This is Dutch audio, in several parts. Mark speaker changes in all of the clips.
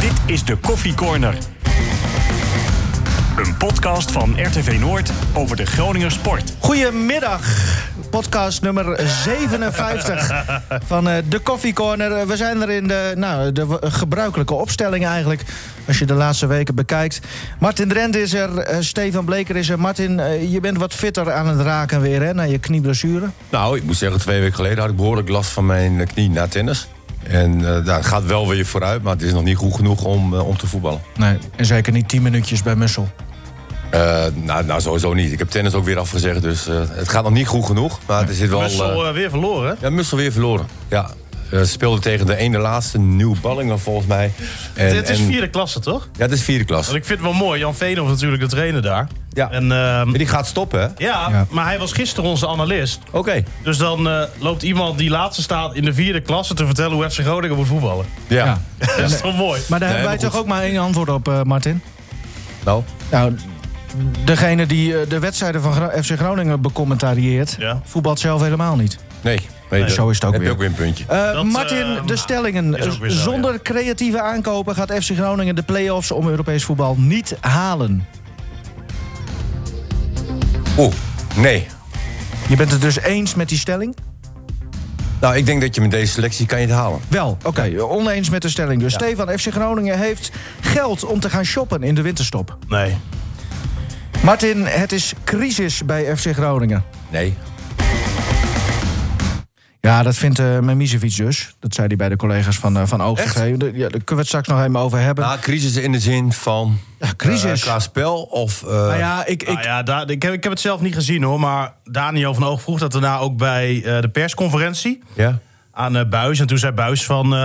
Speaker 1: Dit is de Koffie Corner. Een podcast van RTV Noord over de Groninger sport.
Speaker 2: Goedemiddag, podcast nummer 57 van eh, de Coffee Corner. Eh, We zijn er in de, nou, de w- gebruikelijke opstelling eigenlijk, als je de laatste weken bekijkt. Martin Drent is er, eh, Stefan Bleker is er. Martin, eh, je bent wat fitter aan het raken weer, hè, na je knieblessure.
Speaker 3: Nou, ik moet zeggen, twee weken geleden had ik behoorlijk last van mijn eh, knie na tennis. En eh dat gaat wel weer vooruit, maar het is nog niet goed genoeg om, eh, om te voetballen.
Speaker 2: Nee, en zeker niet 10 minuutjes bij Mussel.
Speaker 3: Eh, nou, nou, sowieso niet. Ik heb tennis ook weer afgezegd, dus eh, het gaat nog niet goed genoeg. Maar er zit wel...
Speaker 4: Mussel
Speaker 3: eh,
Speaker 4: eh, weer verloren. hè?
Speaker 3: ja, Mussel weer verloren. Ja, Eh, ze speelde tegen de ene laatste, Nieuw Ballingen volgens mij. En,
Speaker 4: Dit is
Speaker 3: en-
Speaker 4: vierde klasse, toch?
Speaker 3: Ja, het is vierde klas.
Speaker 4: Want ik vind het wel mooi. Jan Veenhoff natuurlijk de trainer daar.
Speaker 3: Ja.
Speaker 4: En, ehm,
Speaker 3: Maar die gaat stoppen, hè?
Speaker 4: ja,
Speaker 2: Ja.
Speaker 4: maar hij was gisteren onze analist.
Speaker 3: Oké.
Speaker 4: Dus dan eh, loopt iemand die laatste staat in de vierde klasse te vertellen hoe FC Groningen moet voetballen.
Speaker 3: Ja.
Speaker 2: Ja.
Speaker 4: Dat is toch mooi?
Speaker 2: Maar daar hebben
Speaker 3: Nee,
Speaker 2: wij
Speaker 3: maar goed.
Speaker 2: toch ook maar één antwoord op, eh, Martin?
Speaker 3: Nou,
Speaker 2: Nou, degene die eh, de wedstrijden van Gro- FC Groningen becommentarieert,
Speaker 4: Ja.
Speaker 2: voetbalt zelf helemaal niet.
Speaker 3: nee. nee dat-
Speaker 2: zo is het ook
Speaker 3: heb je
Speaker 2: weer.
Speaker 3: ook weer een puntje.
Speaker 2: Eh,
Speaker 4: Dat,
Speaker 2: Martin,
Speaker 4: eh,
Speaker 2: de stellingen.
Speaker 4: is ook weer zo,
Speaker 2: Zonder
Speaker 4: ja.
Speaker 2: creatieve aankopen gaat FC Groningen de play-offs om Europees voetbal niet halen.
Speaker 3: Oeh, nee.
Speaker 2: Je bent het dus eens met die stelling?
Speaker 3: Nou, ik denk dat je met deze selectie kan je het halen.
Speaker 2: Wel, oké, oneens met de stelling. Dus Stefan, FC Groningen heeft geld om te gaan shoppen in de winterstop.
Speaker 4: Nee.
Speaker 2: Martin, het is crisis bij FC Groningen.
Speaker 3: Nee.
Speaker 2: Ja, dat vindt eh Memisevic dus. Dat zei hij bij de collega's van, eh, van Oogst. Ja, daar kunnen we het straks nog even over hebben.
Speaker 3: Nou, crisis in de zin van...
Speaker 2: Ja, crisis.
Speaker 3: eh, qua spel of... eh,
Speaker 2: nou ja, ik, ik,
Speaker 4: nou ja, daar, ik, heb, ik heb het zelf niet gezien hoor. Maar Daniel van Oog vroeg dat daarna ook bij eh, de persconferentie
Speaker 3: ja.
Speaker 4: aan eh Buis. En toen zei Buis van eh,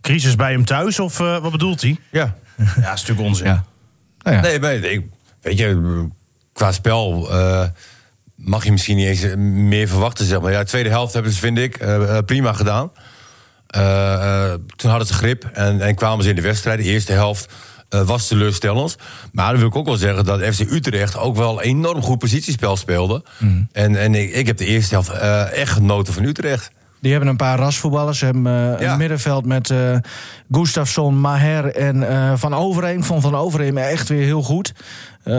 Speaker 4: crisis bij hem thuis. Of eh, wat bedoelt hij?
Speaker 3: ja.
Speaker 4: Ja, dat is natuurlijk onzin.
Speaker 2: Ja. Nou ja.
Speaker 3: Nee, maar ik, weet je, qua spel eh, mag je misschien niet eens eh, meer verwachten. Zeg maar. ja, de tweede helft hebben ze, vind ik, eh, eh, prima gedaan. Eh, eh, toen hadden ze grip en, en kwamen ze in de wedstrijd. De eerste helft eh, was teleurstellend. Maar dan wil ik ook wel zeggen dat FC Utrecht ook wel enorm goed positiespel speelde.
Speaker 2: Mm.
Speaker 3: En, en ik, ik heb de eerste helft eh, echt genoten van Utrecht.
Speaker 2: Die hebben een paar rasvoetballers. Ze hebben eh,
Speaker 3: Ja.
Speaker 2: een middenveld met eh Gustafsson, Maher en eh, Van Overheem. Van Van Overheem echt weer heel goed. Eh,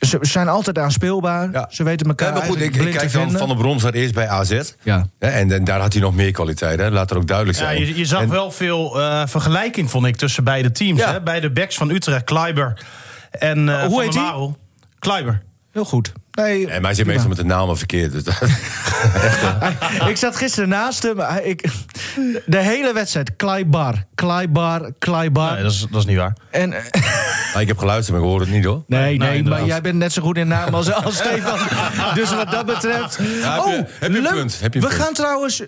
Speaker 2: ze zijn altijd aanspeelbaar.
Speaker 3: Ja.
Speaker 2: Ze weten elkaar
Speaker 3: Ja, maar goed, ik,
Speaker 2: eigenlijk
Speaker 3: ik
Speaker 2: blind te
Speaker 3: kijk dan
Speaker 2: vinden.
Speaker 3: van de bron staat eerst bij AZ.
Speaker 2: Ja.
Speaker 3: Hè, En, en daar had hij nog meer kwaliteit, hè? laat er ook duidelijk
Speaker 4: Ja,
Speaker 3: zijn.
Speaker 4: je, je zag
Speaker 3: En-
Speaker 4: wel veel eh, vergelijking, vond ik, tussen beide teams.
Speaker 3: Ja.
Speaker 4: Hè? Bij de backs van Utrecht, Kleiber en eh
Speaker 2: hoe
Speaker 4: Van
Speaker 2: heet
Speaker 4: der
Speaker 2: die?
Speaker 4: Marel. Kleiber.
Speaker 2: Heel goed. Nee,
Speaker 3: Nee, maar hij zit meestal met de namen verkeerd. Dus dat-
Speaker 2: ik zat gisteren naast hem. Hij- Ik, de hele wedstrijd. Kleibar, Kleibar, Kleibar.
Speaker 4: Nee, dat is, dat is niet waar.
Speaker 2: En, eh,
Speaker 3: maar ik heb geluisterd, maar ik hoorde het niet hoor.
Speaker 2: nee, nee, maar
Speaker 4: inderdaad.
Speaker 2: jij bent net zo goed in naam als, als Stefan. Dus wat dat betreft... Oh,
Speaker 3: heb je- heb je een
Speaker 2: leuk.
Speaker 3: punt, heb je een
Speaker 2: we
Speaker 3: punt.
Speaker 2: gaan trouwens...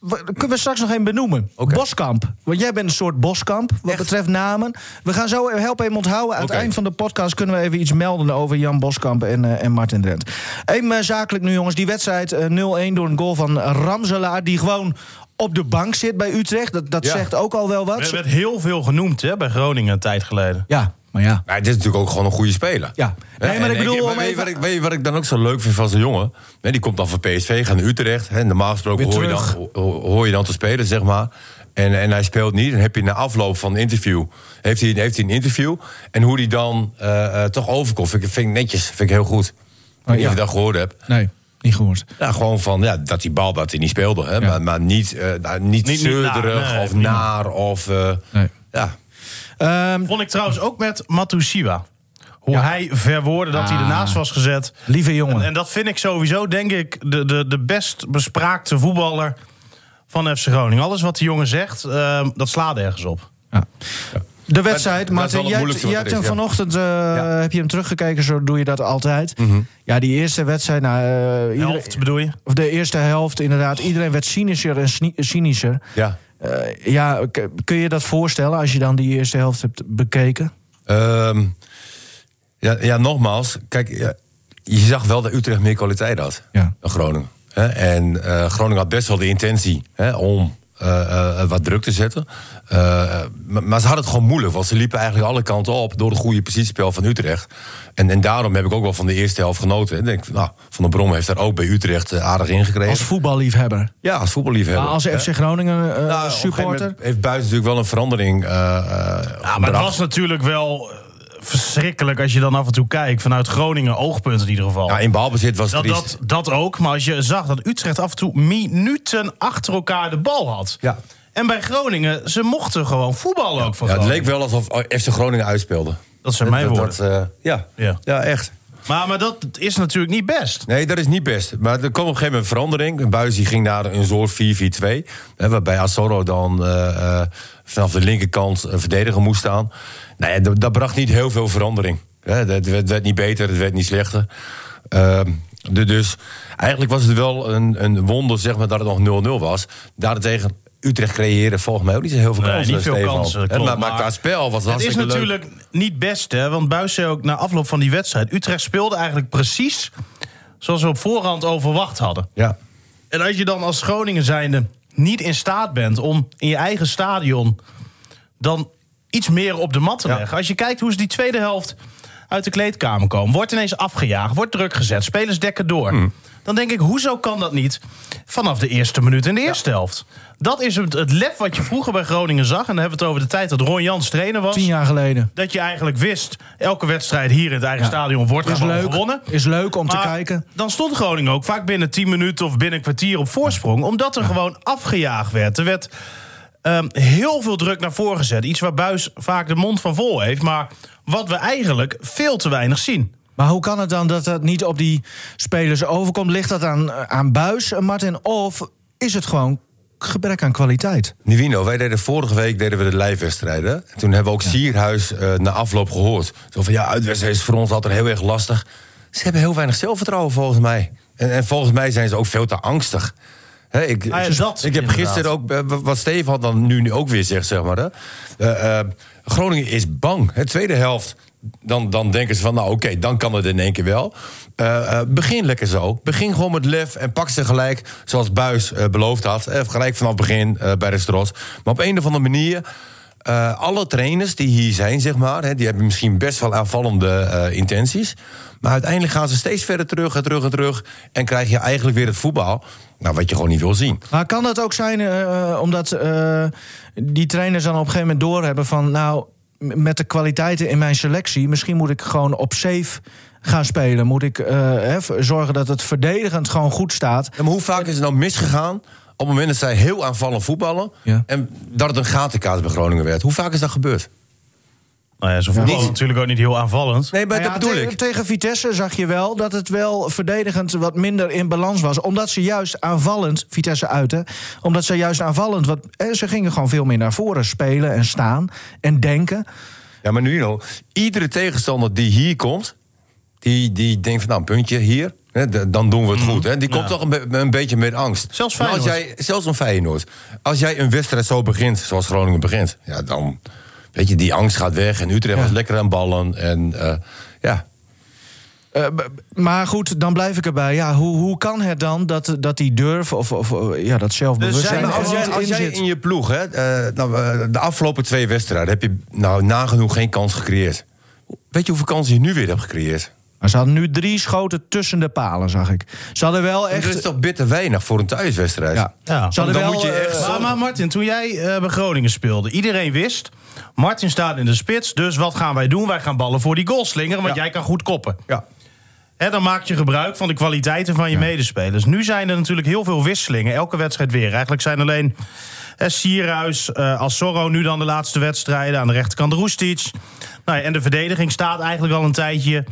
Speaker 2: we- kunnen we straks nog één benoemen.
Speaker 3: Oké.
Speaker 2: Boskamp. Want jij bent een soort Boskamp, wat betreft namen. We gaan zo helpen hem onthouden. Aan het
Speaker 3: Oké.
Speaker 2: eind van de podcast kunnen we even iets melden... over Jan Boskamp en, eh, en Martin Drent. Even eh, zakelijk nu, jongens. Die wedstrijd eh, 0-1 door een goal van Ramselaar... die gewoon op de bank zit bij Utrecht. Dat, dat
Speaker 3: Ja.
Speaker 2: zegt ook al wel wat.
Speaker 4: Er werd heel veel genoemd hè, bij Groningen een tijd geleden.
Speaker 2: Ja, maar ja.
Speaker 3: Maar Nou, het is natuurlijk ook gewoon een goede speler.
Speaker 2: Ja. Nee,
Speaker 3: Hè,
Speaker 2: maar
Speaker 3: en
Speaker 2: ik bedoel om
Speaker 3: weet, je
Speaker 2: even-
Speaker 3: wat ik, weet je wat ik dan ook zo leuk vind van zo'n jongen? Hè, die komt dan van PSV, gaat naar Utrecht. Hè, normaal gesproken
Speaker 2: Weer
Speaker 3: hoor je,
Speaker 2: terug.
Speaker 3: dan, ho- hoor je dan te spelen, zeg maar. En, en hij speelt niet. Dan heb je na afloop van een interview... heeft hij, heeft hij een interview. En hoe die dan eh, eh, toch overkomt, vind ik, vind ik netjes. Vind ik heel goed. Ik weet niet
Speaker 2: ja.
Speaker 3: of je dat gehoord hebt.
Speaker 2: Nee, niet gehoord.
Speaker 3: Ja, gewoon van ja, dat die bal dat hij niet speelde. Hè? Maar, maar niet, eh, nou, niet,
Speaker 4: niet
Speaker 3: zeurderig
Speaker 4: naar, nee,
Speaker 3: of
Speaker 4: prima.
Speaker 3: naar. Of, eh,
Speaker 2: Nee.
Speaker 3: ja.
Speaker 2: Ehm,
Speaker 4: Vond ik trouwens ook met Matusiwa. Hoe
Speaker 2: Ja. Ah.
Speaker 4: hij verwoordde dat hij ernaast was gezet.
Speaker 2: lieve jongen.
Speaker 4: En dat vind ik sowieso, denk ik, de, de, de best bespraakte voetballer van FC Groningen. Alles wat die jongen zegt, eh, dat slaat ergens op.
Speaker 2: Ja. De wedstrijd,
Speaker 3: dat is
Speaker 2: Martin,
Speaker 3: wel het
Speaker 2: jij,
Speaker 3: moeilijkste
Speaker 2: jij
Speaker 3: wat
Speaker 2: hebt
Speaker 3: er
Speaker 2: hem
Speaker 3: is, ja. Mhm.
Speaker 2: vanochtend eh, heb je hem teruggekeken, zo doe je dat altijd. Ja, die eerste wedstrijd, nou, eh, iedereen-
Speaker 4: Helft bedoel je?
Speaker 2: of de eerste helft inderdaad, iedereen werd cynischer en sni- cynischer.
Speaker 3: ja.
Speaker 2: Eh, ja, k- kun je dat voorstellen als je dan die eerste helft hebt bekeken?
Speaker 3: Ehm, ja, ja, nogmaals. Kijk, ja, je zag wel dat Utrecht meer kwaliteit had
Speaker 2: Ja.
Speaker 3: dan Groningen. Hè? En eh, Groningen had best wel de intentie hè, om eh, eh, eh, wat druk te zetten. Eh, maar, maar ze hadden het gewoon moeilijk, want ze liepen eigenlijk alle kanten op door het goede positiespel van Utrecht. En, en daarom heb ik ook wel van de eerste helft genoten. Ik denk, nou, Van der Brom heeft daar ook bij Utrecht eh, aardig ingekregen.
Speaker 2: Als voetballiefhebber.
Speaker 3: ja, als voetballiefhebber.
Speaker 2: Maar als
Speaker 3: Eh,
Speaker 2: FC Groningen eh,
Speaker 3: nou, op een gegeven
Speaker 2: supporter.
Speaker 3: moment heeft buiten natuurlijk wel een verandering. eh, eh,
Speaker 4: Ja, maar het
Speaker 3: gebracht.
Speaker 4: was natuurlijk wel eh, verschrikkelijk als je dan af en toe kijkt. Vanuit Groningen oogpunt in ieder geval.
Speaker 3: Ja, in balbezit was het
Speaker 4: dat,
Speaker 3: triest.
Speaker 4: dat, dat ook. Maar als je zag dat Utrecht af en toe minuten achter elkaar de bal had.
Speaker 3: Ja.
Speaker 4: En bij Groningen, ze mochten gewoon voetballen ook van
Speaker 3: Ja, het
Speaker 4: Groningen.
Speaker 3: leek wel alsof FC Groningen uitspeelde.
Speaker 4: Dat zijn mijn
Speaker 3: Dat-
Speaker 4: woorden.
Speaker 3: dat, eh, ja.
Speaker 4: Ja.
Speaker 3: Ja. echt.
Speaker 4: Maar, maar dat is natuurlijk niet best.
Speaker 3: Nee, dat is niet best. Maar er kwam op een gegeven moment verandering. Buis die ging naar een soort 4-4-2. Hè, waarbij Asoro dan eh, eh, vanaf de linkerkant eh, verdediger moest staan. Nou ja, dat, dat bracht niet heel veel verandering. Hè, dat- Het werd, werd niet beter, het werd niet slechter. Ehm, de- dus eigenlijk was het wel een, een wonder zeg maar, dat het nog 0-0 was. Daarentegen, Utrecht creëren volgens mij ook niet zo heel veel
Speaker 4: Nee,
Speaker 3: kansen.
Speaker 4: niet veel
Speaker 3: Stefan.
Speaker 4: kansen,
Speaker 3: Hè,
Speaker 4: klopt,
Speaker 3: maar, maar
Speaker 4: maar
Speaker 3: qua spel was het
Speaker 4: Het is
Speaker 3: hartstikke leuk.
Speaker 4: natuurlijk niet best, hè? Want Buis zei ook na afloop van die wedstrijd... Utrecht speelde eigenlijk precies zoals we op voorhand overwacht hadden.
Speaker 3: Ja.
Speaker 4: En als je dan als Groningen zijnde niet in staat bent... om in je eigen stadion dan iets meer op de mat te
Speaker 3: Ja.
Speaker 4: leggen... als je kijkt hoe ze die tweede helft uit de kleedkamer komen... wordt ineens afgejaagd, wordt druk gezet, spelers dekken door...
Speaker 2: Hmm.
Speaker 4: dan denk ik, hoezo kan dat niet vanaf de eerste minuut in de eerste helft? Dat is het, het lef wat je vroeger bij Groningen zag. En dan hebben we het over de tijd dat Ron Jans trainer was
Speaker 2: Tien jaar geleden.
Speaker 4: dat je eigenlijk wist... elke wedstrijd hier in het eigen
Speaker 2: Ja.
Speaker 4: stadion wordt
Speaker 2: Is
Speaker 4: gewoon
Speaker 2: leuk,
Speaker 4: gewonnen.
Speaker 2: is leuk om te
Speaker 4: Maar
Speaker 2: kijken.
Speaker 4: dan stond Groningen ook vaak binnen 10 minuten... of binnen een kwartier op voorsprong. Omdat er gewoon afgejaagd werd. Er werd ehm, heel veel druk naar voren gezet. Iets waar Buis vaak de mond van vol heeft. Maar wat we eigenlijk veel te weinig zien.
Speaker 2: Maar hoe kan het dan dat dat niet op die spelers overkomt? Ligt dat aan, eh, aan Buis, Martin? Of is het gewoon gebrek aan kwaliteit?
Speaker 3: Nivino, wij deden vorige week deden we de lijfwedstrijden. En toen hebben we ook Sierhuis eh, na afloop gehoord. Zo van ja, uitwedstrijd is voor ons altijd heel erg lastig. Ze hebben heel weinig zelfvertrouwen volgens mij. En, en volgens mij zijn ze ook veel te angstig. Hè, ik,
Speaker 4: Ah ja, dat
Speaker 3: ik heb
Speaker 4: inderdaad.
Speaker 3: gisteren ook, eh, wat Steven had dan nu ook weer zegt, zeg maar. Hè. Eh, eh, Groningen is bang. Hè, tweede helft, dan, dan denken ze van, nou oké, dan kan het in één keer wel. Eh, eh, begin lekker zo. Begin gewoon met lef en pak ze gelijk, zoals Buis beloofd had. Eh, gelijk vanaf het begin eh, bij de Stros. Maar op een of andere manier, eh, alle trainers die hier zijn, zeg maar... Hè, die hebben misschien best wel aanvallende eh, intenties. Maar uiteindelijk gaan ze steeds verder terug en terug en terug... en krijg je eigenlijk weer het voetbal... Nou, wat je gewoon niet wil zien.
Speaker 2: Maar kan dat ook zijn eh, eh, omdat eh, die trainers dan op een gegeven moment doorhebben van... nou, m- met de kwaliteiten in mijn selectie, misschien moet ik gewoon op safe gaan spelen. Moet ik eh, hè, v- zorgen dat het verdedigend gewoon goed staat.
Speaker 3: Ja, maar hoe vaak is het nou misgegaan op het moment dat zij heel aanvallend voetballen...
Speaker 2: Ja.
Speaker 3: en dat het een gatenkaart bij Groningen werd? Hoe vaak is dat gebeurd?
Speaker 4: Nou ja, ze voetballen
Speaker 3: Niet-
Speaker 4: natuurlijk ook niet heel aanvallend.
Speaker 3: Nee, maar
Speaker 2: Nou ja,
Speaker 3: dat bedoel
Speaker 2: te-
Speaker 3: ik.
Speaker 2: Tegen Vitesse zag je wel dat het wel verdedigend wat minder in balans was. Omdat ze juist aanvallend, Vitesse uit hè, omdat ze juist aanvallend... Wat, eh, ze gingen gewoon veel meer naar voren spelen en staan en denken.
Speaker 3: Ja, maar nu al. Iedere tegenstander die hier komt, die, die denkt van nou, een puntje hier, hè, d- dan doen we het goed. Hè. Die komt
Speaker 4: ja.
Speaker 3: toch een, be- een beetje met angst.
Speaker 4: Zelfs
Speaker 3: Maar als
Speaker 4: Feyenoord.
Speaker 3: jij, Zelfs een Feyenoord. Als jij een wedstrijd zo begint, zoals Groningen begint, ja, dan weet je, die angst gaat weg. En Utrecht was lekker aan ballen. En eh, ja,
Speaker 2: Eh, b- maar goed, dan blijf ik erbij. Ja, hoe, hoe kan het dan dat, dat die durf of, of eh, ja, dat
Speaker 4: zijn
Speaker 2: zelfbewustzijn
Speaker 3: Ja, maar
Speaker 2: er
Speaker 3: Dus als,
Speaker 2: gewoon
Speaker 3: jij, als
Speaker 2: in
Speaker 3: jij
Speaker 2: zit?
Speaker 3: in je ploeg, hè, eh, nou, eh, de afgelopen twee wedstrijden heb je nou, nagenoeg geen kans gecreëerd. Weet je hoeveel kansen je nu weer hebt gecreëerd?
Speaker 2: Maar ze hadden nu drie schoten tussen de palen, zag ik. Ze hadden wel
Speaker 3: Echt? Dat is
Speaker 2: echt...
Speaker 3: toch bitter weinig voor een thuiswedstrijd?
Speaker 2: Ja.
Speaker 4: Ja.
Speaker 2: Ze hadden
Speaker 3: Dan
Speaker 2: wel,
Speaker 3: moet je echt
Speaker 2: eh,
Speaker 4: Maar, maar Martin, toen jij eh, bij Groningen speelde, iedereen wist... Martin staat in de spits, dus wat gaan wij doen? Wij gaan ballen voor die goal slingeren, want
Speaker 3: Ja.
Speaker 4: jij kan goed koppen.
Speaker 3: Ja.
Speaker 4: Hè, dan maak je gebruik van de kwaliteiten van je medespelers. Nu zijn er natuurlijk heel veel wisselingen, elke wedstrijd weer. Eigenlijk zijn alleen eh, Sierhuis, eh Assorro nu dan de laatste wedstrijden... aan de rechterkant Roestic. Nou ja, en de verdediging staat eigenlijk al een tijdje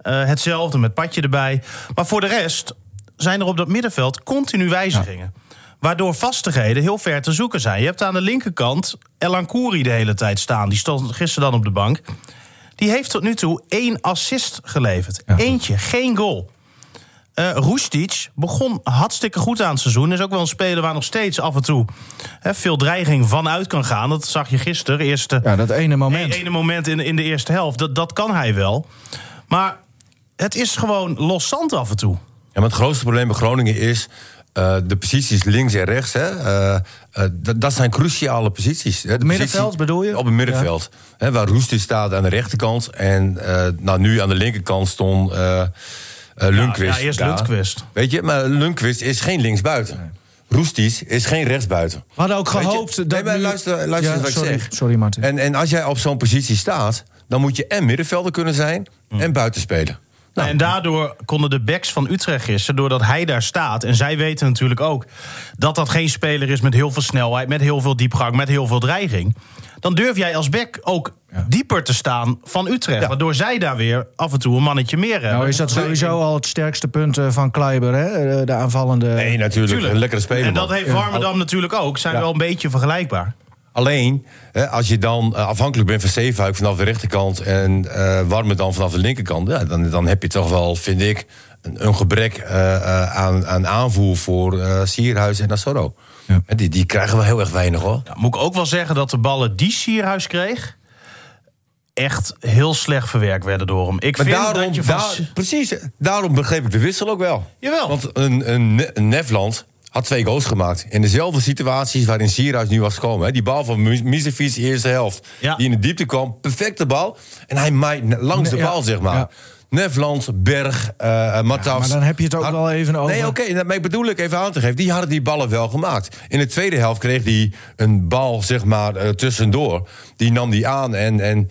Speaker 4: eh, hetzelfde, met Patje erbij. Maar voor de rest zijn er op dat middenveld continu wijzigingen. Waardoor vastigheden heel ver te zoeken zijn. Je hebt aan de linkerkant Elan Kouri de hele tijd staan. Die stond gisteren dan op de bank. Die heeft tot nu toe één assist geleverd. Eentje, geen goal. Eh Roestic begon hartstikke goed aan het seizoen. Is ook wel een speler waar nog steeds af en toe hè, veel dreiging vanuit kan gaan. Dat zag je gisteren. Eerste
Speaker 2: Ja, dat ene moment.
Speaker 4: ene moment in, in de eerste helft. Dat, dat kan hij wel. Maar het is gewoon loszand af en toe.
Speaker 3: Ja, maar het grootste probleem bij Groningen is. eh, eh, de posities links en rechts, hè, eh, eh, dat- dat zijn cruciale posities. hè. De
Speaker 2: Middenveld
Speaker 3: positie-
Speaker 2: bedoel je?
Speaker 3: Op het middenveld. Hè, waar Roestic staat aan de rechterkant. En eh, nou, nu aan de linkerkant stond eh eh, Lundqvist.
Speaker 4: ja, eerst
Speaker 3: daar.
Speaker 4: Lundqvist.
Speaker 3: Weet je, maar Lundqvist is geen linksbuiten. Roestic is geen rechtsbuiten.
Speaker 2: We hadden ook
Speaker 3: Weet je-
Speaker 2: gehoopt dat
Speaker 3: Nee, maar
Speaker 2: nu-
Speaker 3: luister, luister
Speaker 2: Ja,
Speaker 3: eens wat
Speaker 2: sorry,
Speaker 3: ik zeg.
Speaker 2: sorry, Martin.
Speaker 3: En, en als jij op zo'n positie staat, dan moet je en middenvelder kunnen zijn
Speaker 2: Mm.
Speaker 3: en buitenspeler. Nou,
Speaker 4: En daardoor konden de backs van Utrecht gisteren, doordat hij daar staat... en zij weten natuurlijk ook dat dat geen speler is met heel veel snelheid... met heel veel diepgang, met heel veel dreiging... dan durf jij als back ook dieper te staan van Utrecht. Waardoor zij daar weer af en toe een mannetje meer hebben.
Speaker 2: Nou is dat sowieso al het sterkste punt eh, van Kleiber, hè? Eh, De aanvallende...
Speaker 3: nee, natuurlijk.
Speaker 4: Tuurlijk.
Speaker 3: Een lekkere speler.
Speaker 4: En dat
Speaker 3: man.
Speaker 4: heeft Warmerdam natuurlijk ook. Zijn wel een beetje vergelijkbaar.
Speaker 3: Alleen, hè, als je dan eh, afhankelijk bent van Zeefuik vanaf de rechterkant... en eh Warme dan vanaf de linkerkant... Ja, dan, dan heb je toch wel, vind ik, een, een gebrek eh, eh, aan, aan aanvoer voor eh Sierhuis en Nassoro. En Die, die krijgen wel heel erg weinig, hoor.
Speaker 4: Ja, Nou, moet ik ook wel zeggen dat de ballen die Sierhuis kreeg... echt heel slecht verwerkt werden door hem. Ik
Speaker 3: Maar
Speaker 4: vind
Speaker 3: daarom,
Speaker 4: dat je van...
Speaker 3: daar- precies, daarom begreep ik de wissel ook wel.
Speaker 4: Jawel.
Speaker 3: Want een, een, Ne- een Nefland had twee goals gemaakt. In dezelfde situaties waarin Sierhuis nu was gekomen. Hè. Die bal van Mu- Misevic, eerste helft.
Speaker 4: Ja.
Speaker 3: Die in de diepte kwam. Perfecte bal. En hij maait ne- langs de
Speaker 2: Ja,
Speaker 3: bal, zeg maar.
Speaker 2: ja.
Speaker 3: Nefland, Berg, eh eh, Matas.
Speaker 2: maar dan heb je het ook
Speaker 3: Had-
Speaker 2: wel even over.
Speaker 3: Nee, oké. dat maar ik bedoel ik even aan te geven. Die hadden die ballen wel gemaakt. In de tweede helft kreeg hij een bal, zeg maar, eh, tussendoor. Die nam die aan en... en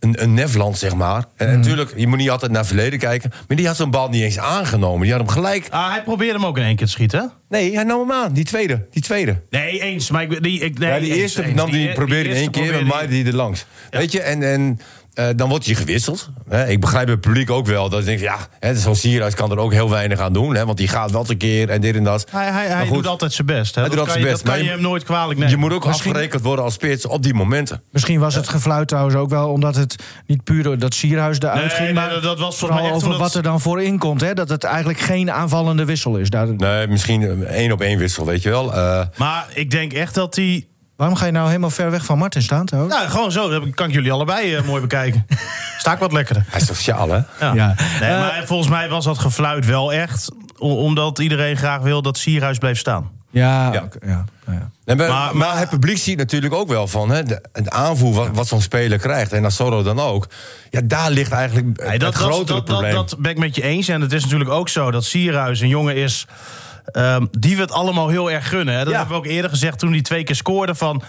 Speaker 3: een, een Nefland, zeg maar. En
Speaker 4: Mhm.
Speaker 3: natuurlijk, je moet niet altijd naar het verleden kijken. Maar die had zo'n bal niet eens aangenomen. Die had hem gelijk.
Speaker 4: Ah, hij probeerde hem ook in één keer te schieten. hè?
Speaker 3: Nee, hij nam hem aan. Die tweede. Die tweede.
Speaker 4: Nee, eens. Maar ik, die, ik, nee,
Speaker 3: Ja, die
Speaker 4: eens,
Speaker 3: eerste
Speaker 4: eens.
Speaker 3: nam die,
Speaker 4: e-
Speaker 3: probeerde in
Speaker 4: eerste
Speaker 3: één keer en
Speaker 4: probeerde
Speaker 3: maaide die er langs. Weet je, en, en eh, dan wordt je gewisseld. Hè, ik begrijp het publiek ook wel. Dat ik denk, ja, hè, zo'n Sierhuis kan er ook heel weinig aan doen. Hè, want die gaat wel keer en dit en dat.
Speaker 4: Hij, hij,
Speaker 3: Maar
Speaker 4: hij
Speaker 3: goed,
Speaker 4: doet altijd zijn best. Hè?
Speaker 3: Hij
Speaker 4: dat
Speaker 3: doet
Speaker 4: kan,
Speaker 3: altijd
Speaker 4: je,
Speaker 3: zijn
Speaker 4: dat
Speaker 3: best,
Speaker 4: kan je
Speaker 3: maar
Speaker 4: hem nooit kwalijk nemen.
Speaker 3: Je moet ook
Speaker 4: Misschien-
Speaker 3: afgerekend worden als spits op die momenten.
Speaker 2: Misschien was het gefluit trouwens ook wel omdat het niet puur door dat Sierhuis eruit
Speaker 4: Nee,
Speaker 2: ging.
Speaker 4: nee,
Speaker 2: maar
Speaker 4: dat- dat was volgens
Speaker 2: vooral
Speaker 4: mij echt
Speaker 2: over
Speaker 4: omdat-
Speaker 2: wat er dan voor inkomt. Hè? Dat het eigenlijk geen aanvallende wissel is. Daar...
Speaker 3: Nee, misschien een één op één wissel, weet je wel. Eh,
Speaker 4: Maar ik denk echt dat hij...
Speaker 2: Waarom ga je nou helemaal ver weg van Martin staan? trouwens?
Speaker 4: Nou, gewoon zo. Dan kan ik jullie allebei eh, mooi bekijken. Sta ik wat lekkerder.
Speaker 3: hij is sociaal, hè?
Speaker 4: Ja.
Speaker 2: Ja.
Speaker 4: Nee,
Speaker 3: Eh,
Speaker 4: maar volgens mij was dat gefluit wel echt... o- omdat iedereen graag wil dat Sierhuis blijft staan.
Speaker 2: Ja,
Speaker 3: Ja.
Speaker 2: oké, ja, nou ja.
Speaker 3: Nee, maar,
Speaker 4: Maar-
Speaker 3: maar, het publiek ziet natuurlijk ook wel van hè, de, het aanvoer wat, wat zo'n speler krijgt. En Nassoro dan ook. Ja, daar ligt eigenlijk
Speaker 4: Nee, dat,
Speaker 3: het grotere
Speaker 4: dat, dat,
Speaker 3: probleem.
Speaker 4: Dat, dat ben ik met je eens. En het is natuurlijk ook zo dat Sierhuis een jongen is... ehm, die we het allemaal heel erg gunnen. Hè? Dat
Speaker 3: Ja.
Speaker 4: hebben we ook eerder gezegd toen hij twee keer scoorde. Van,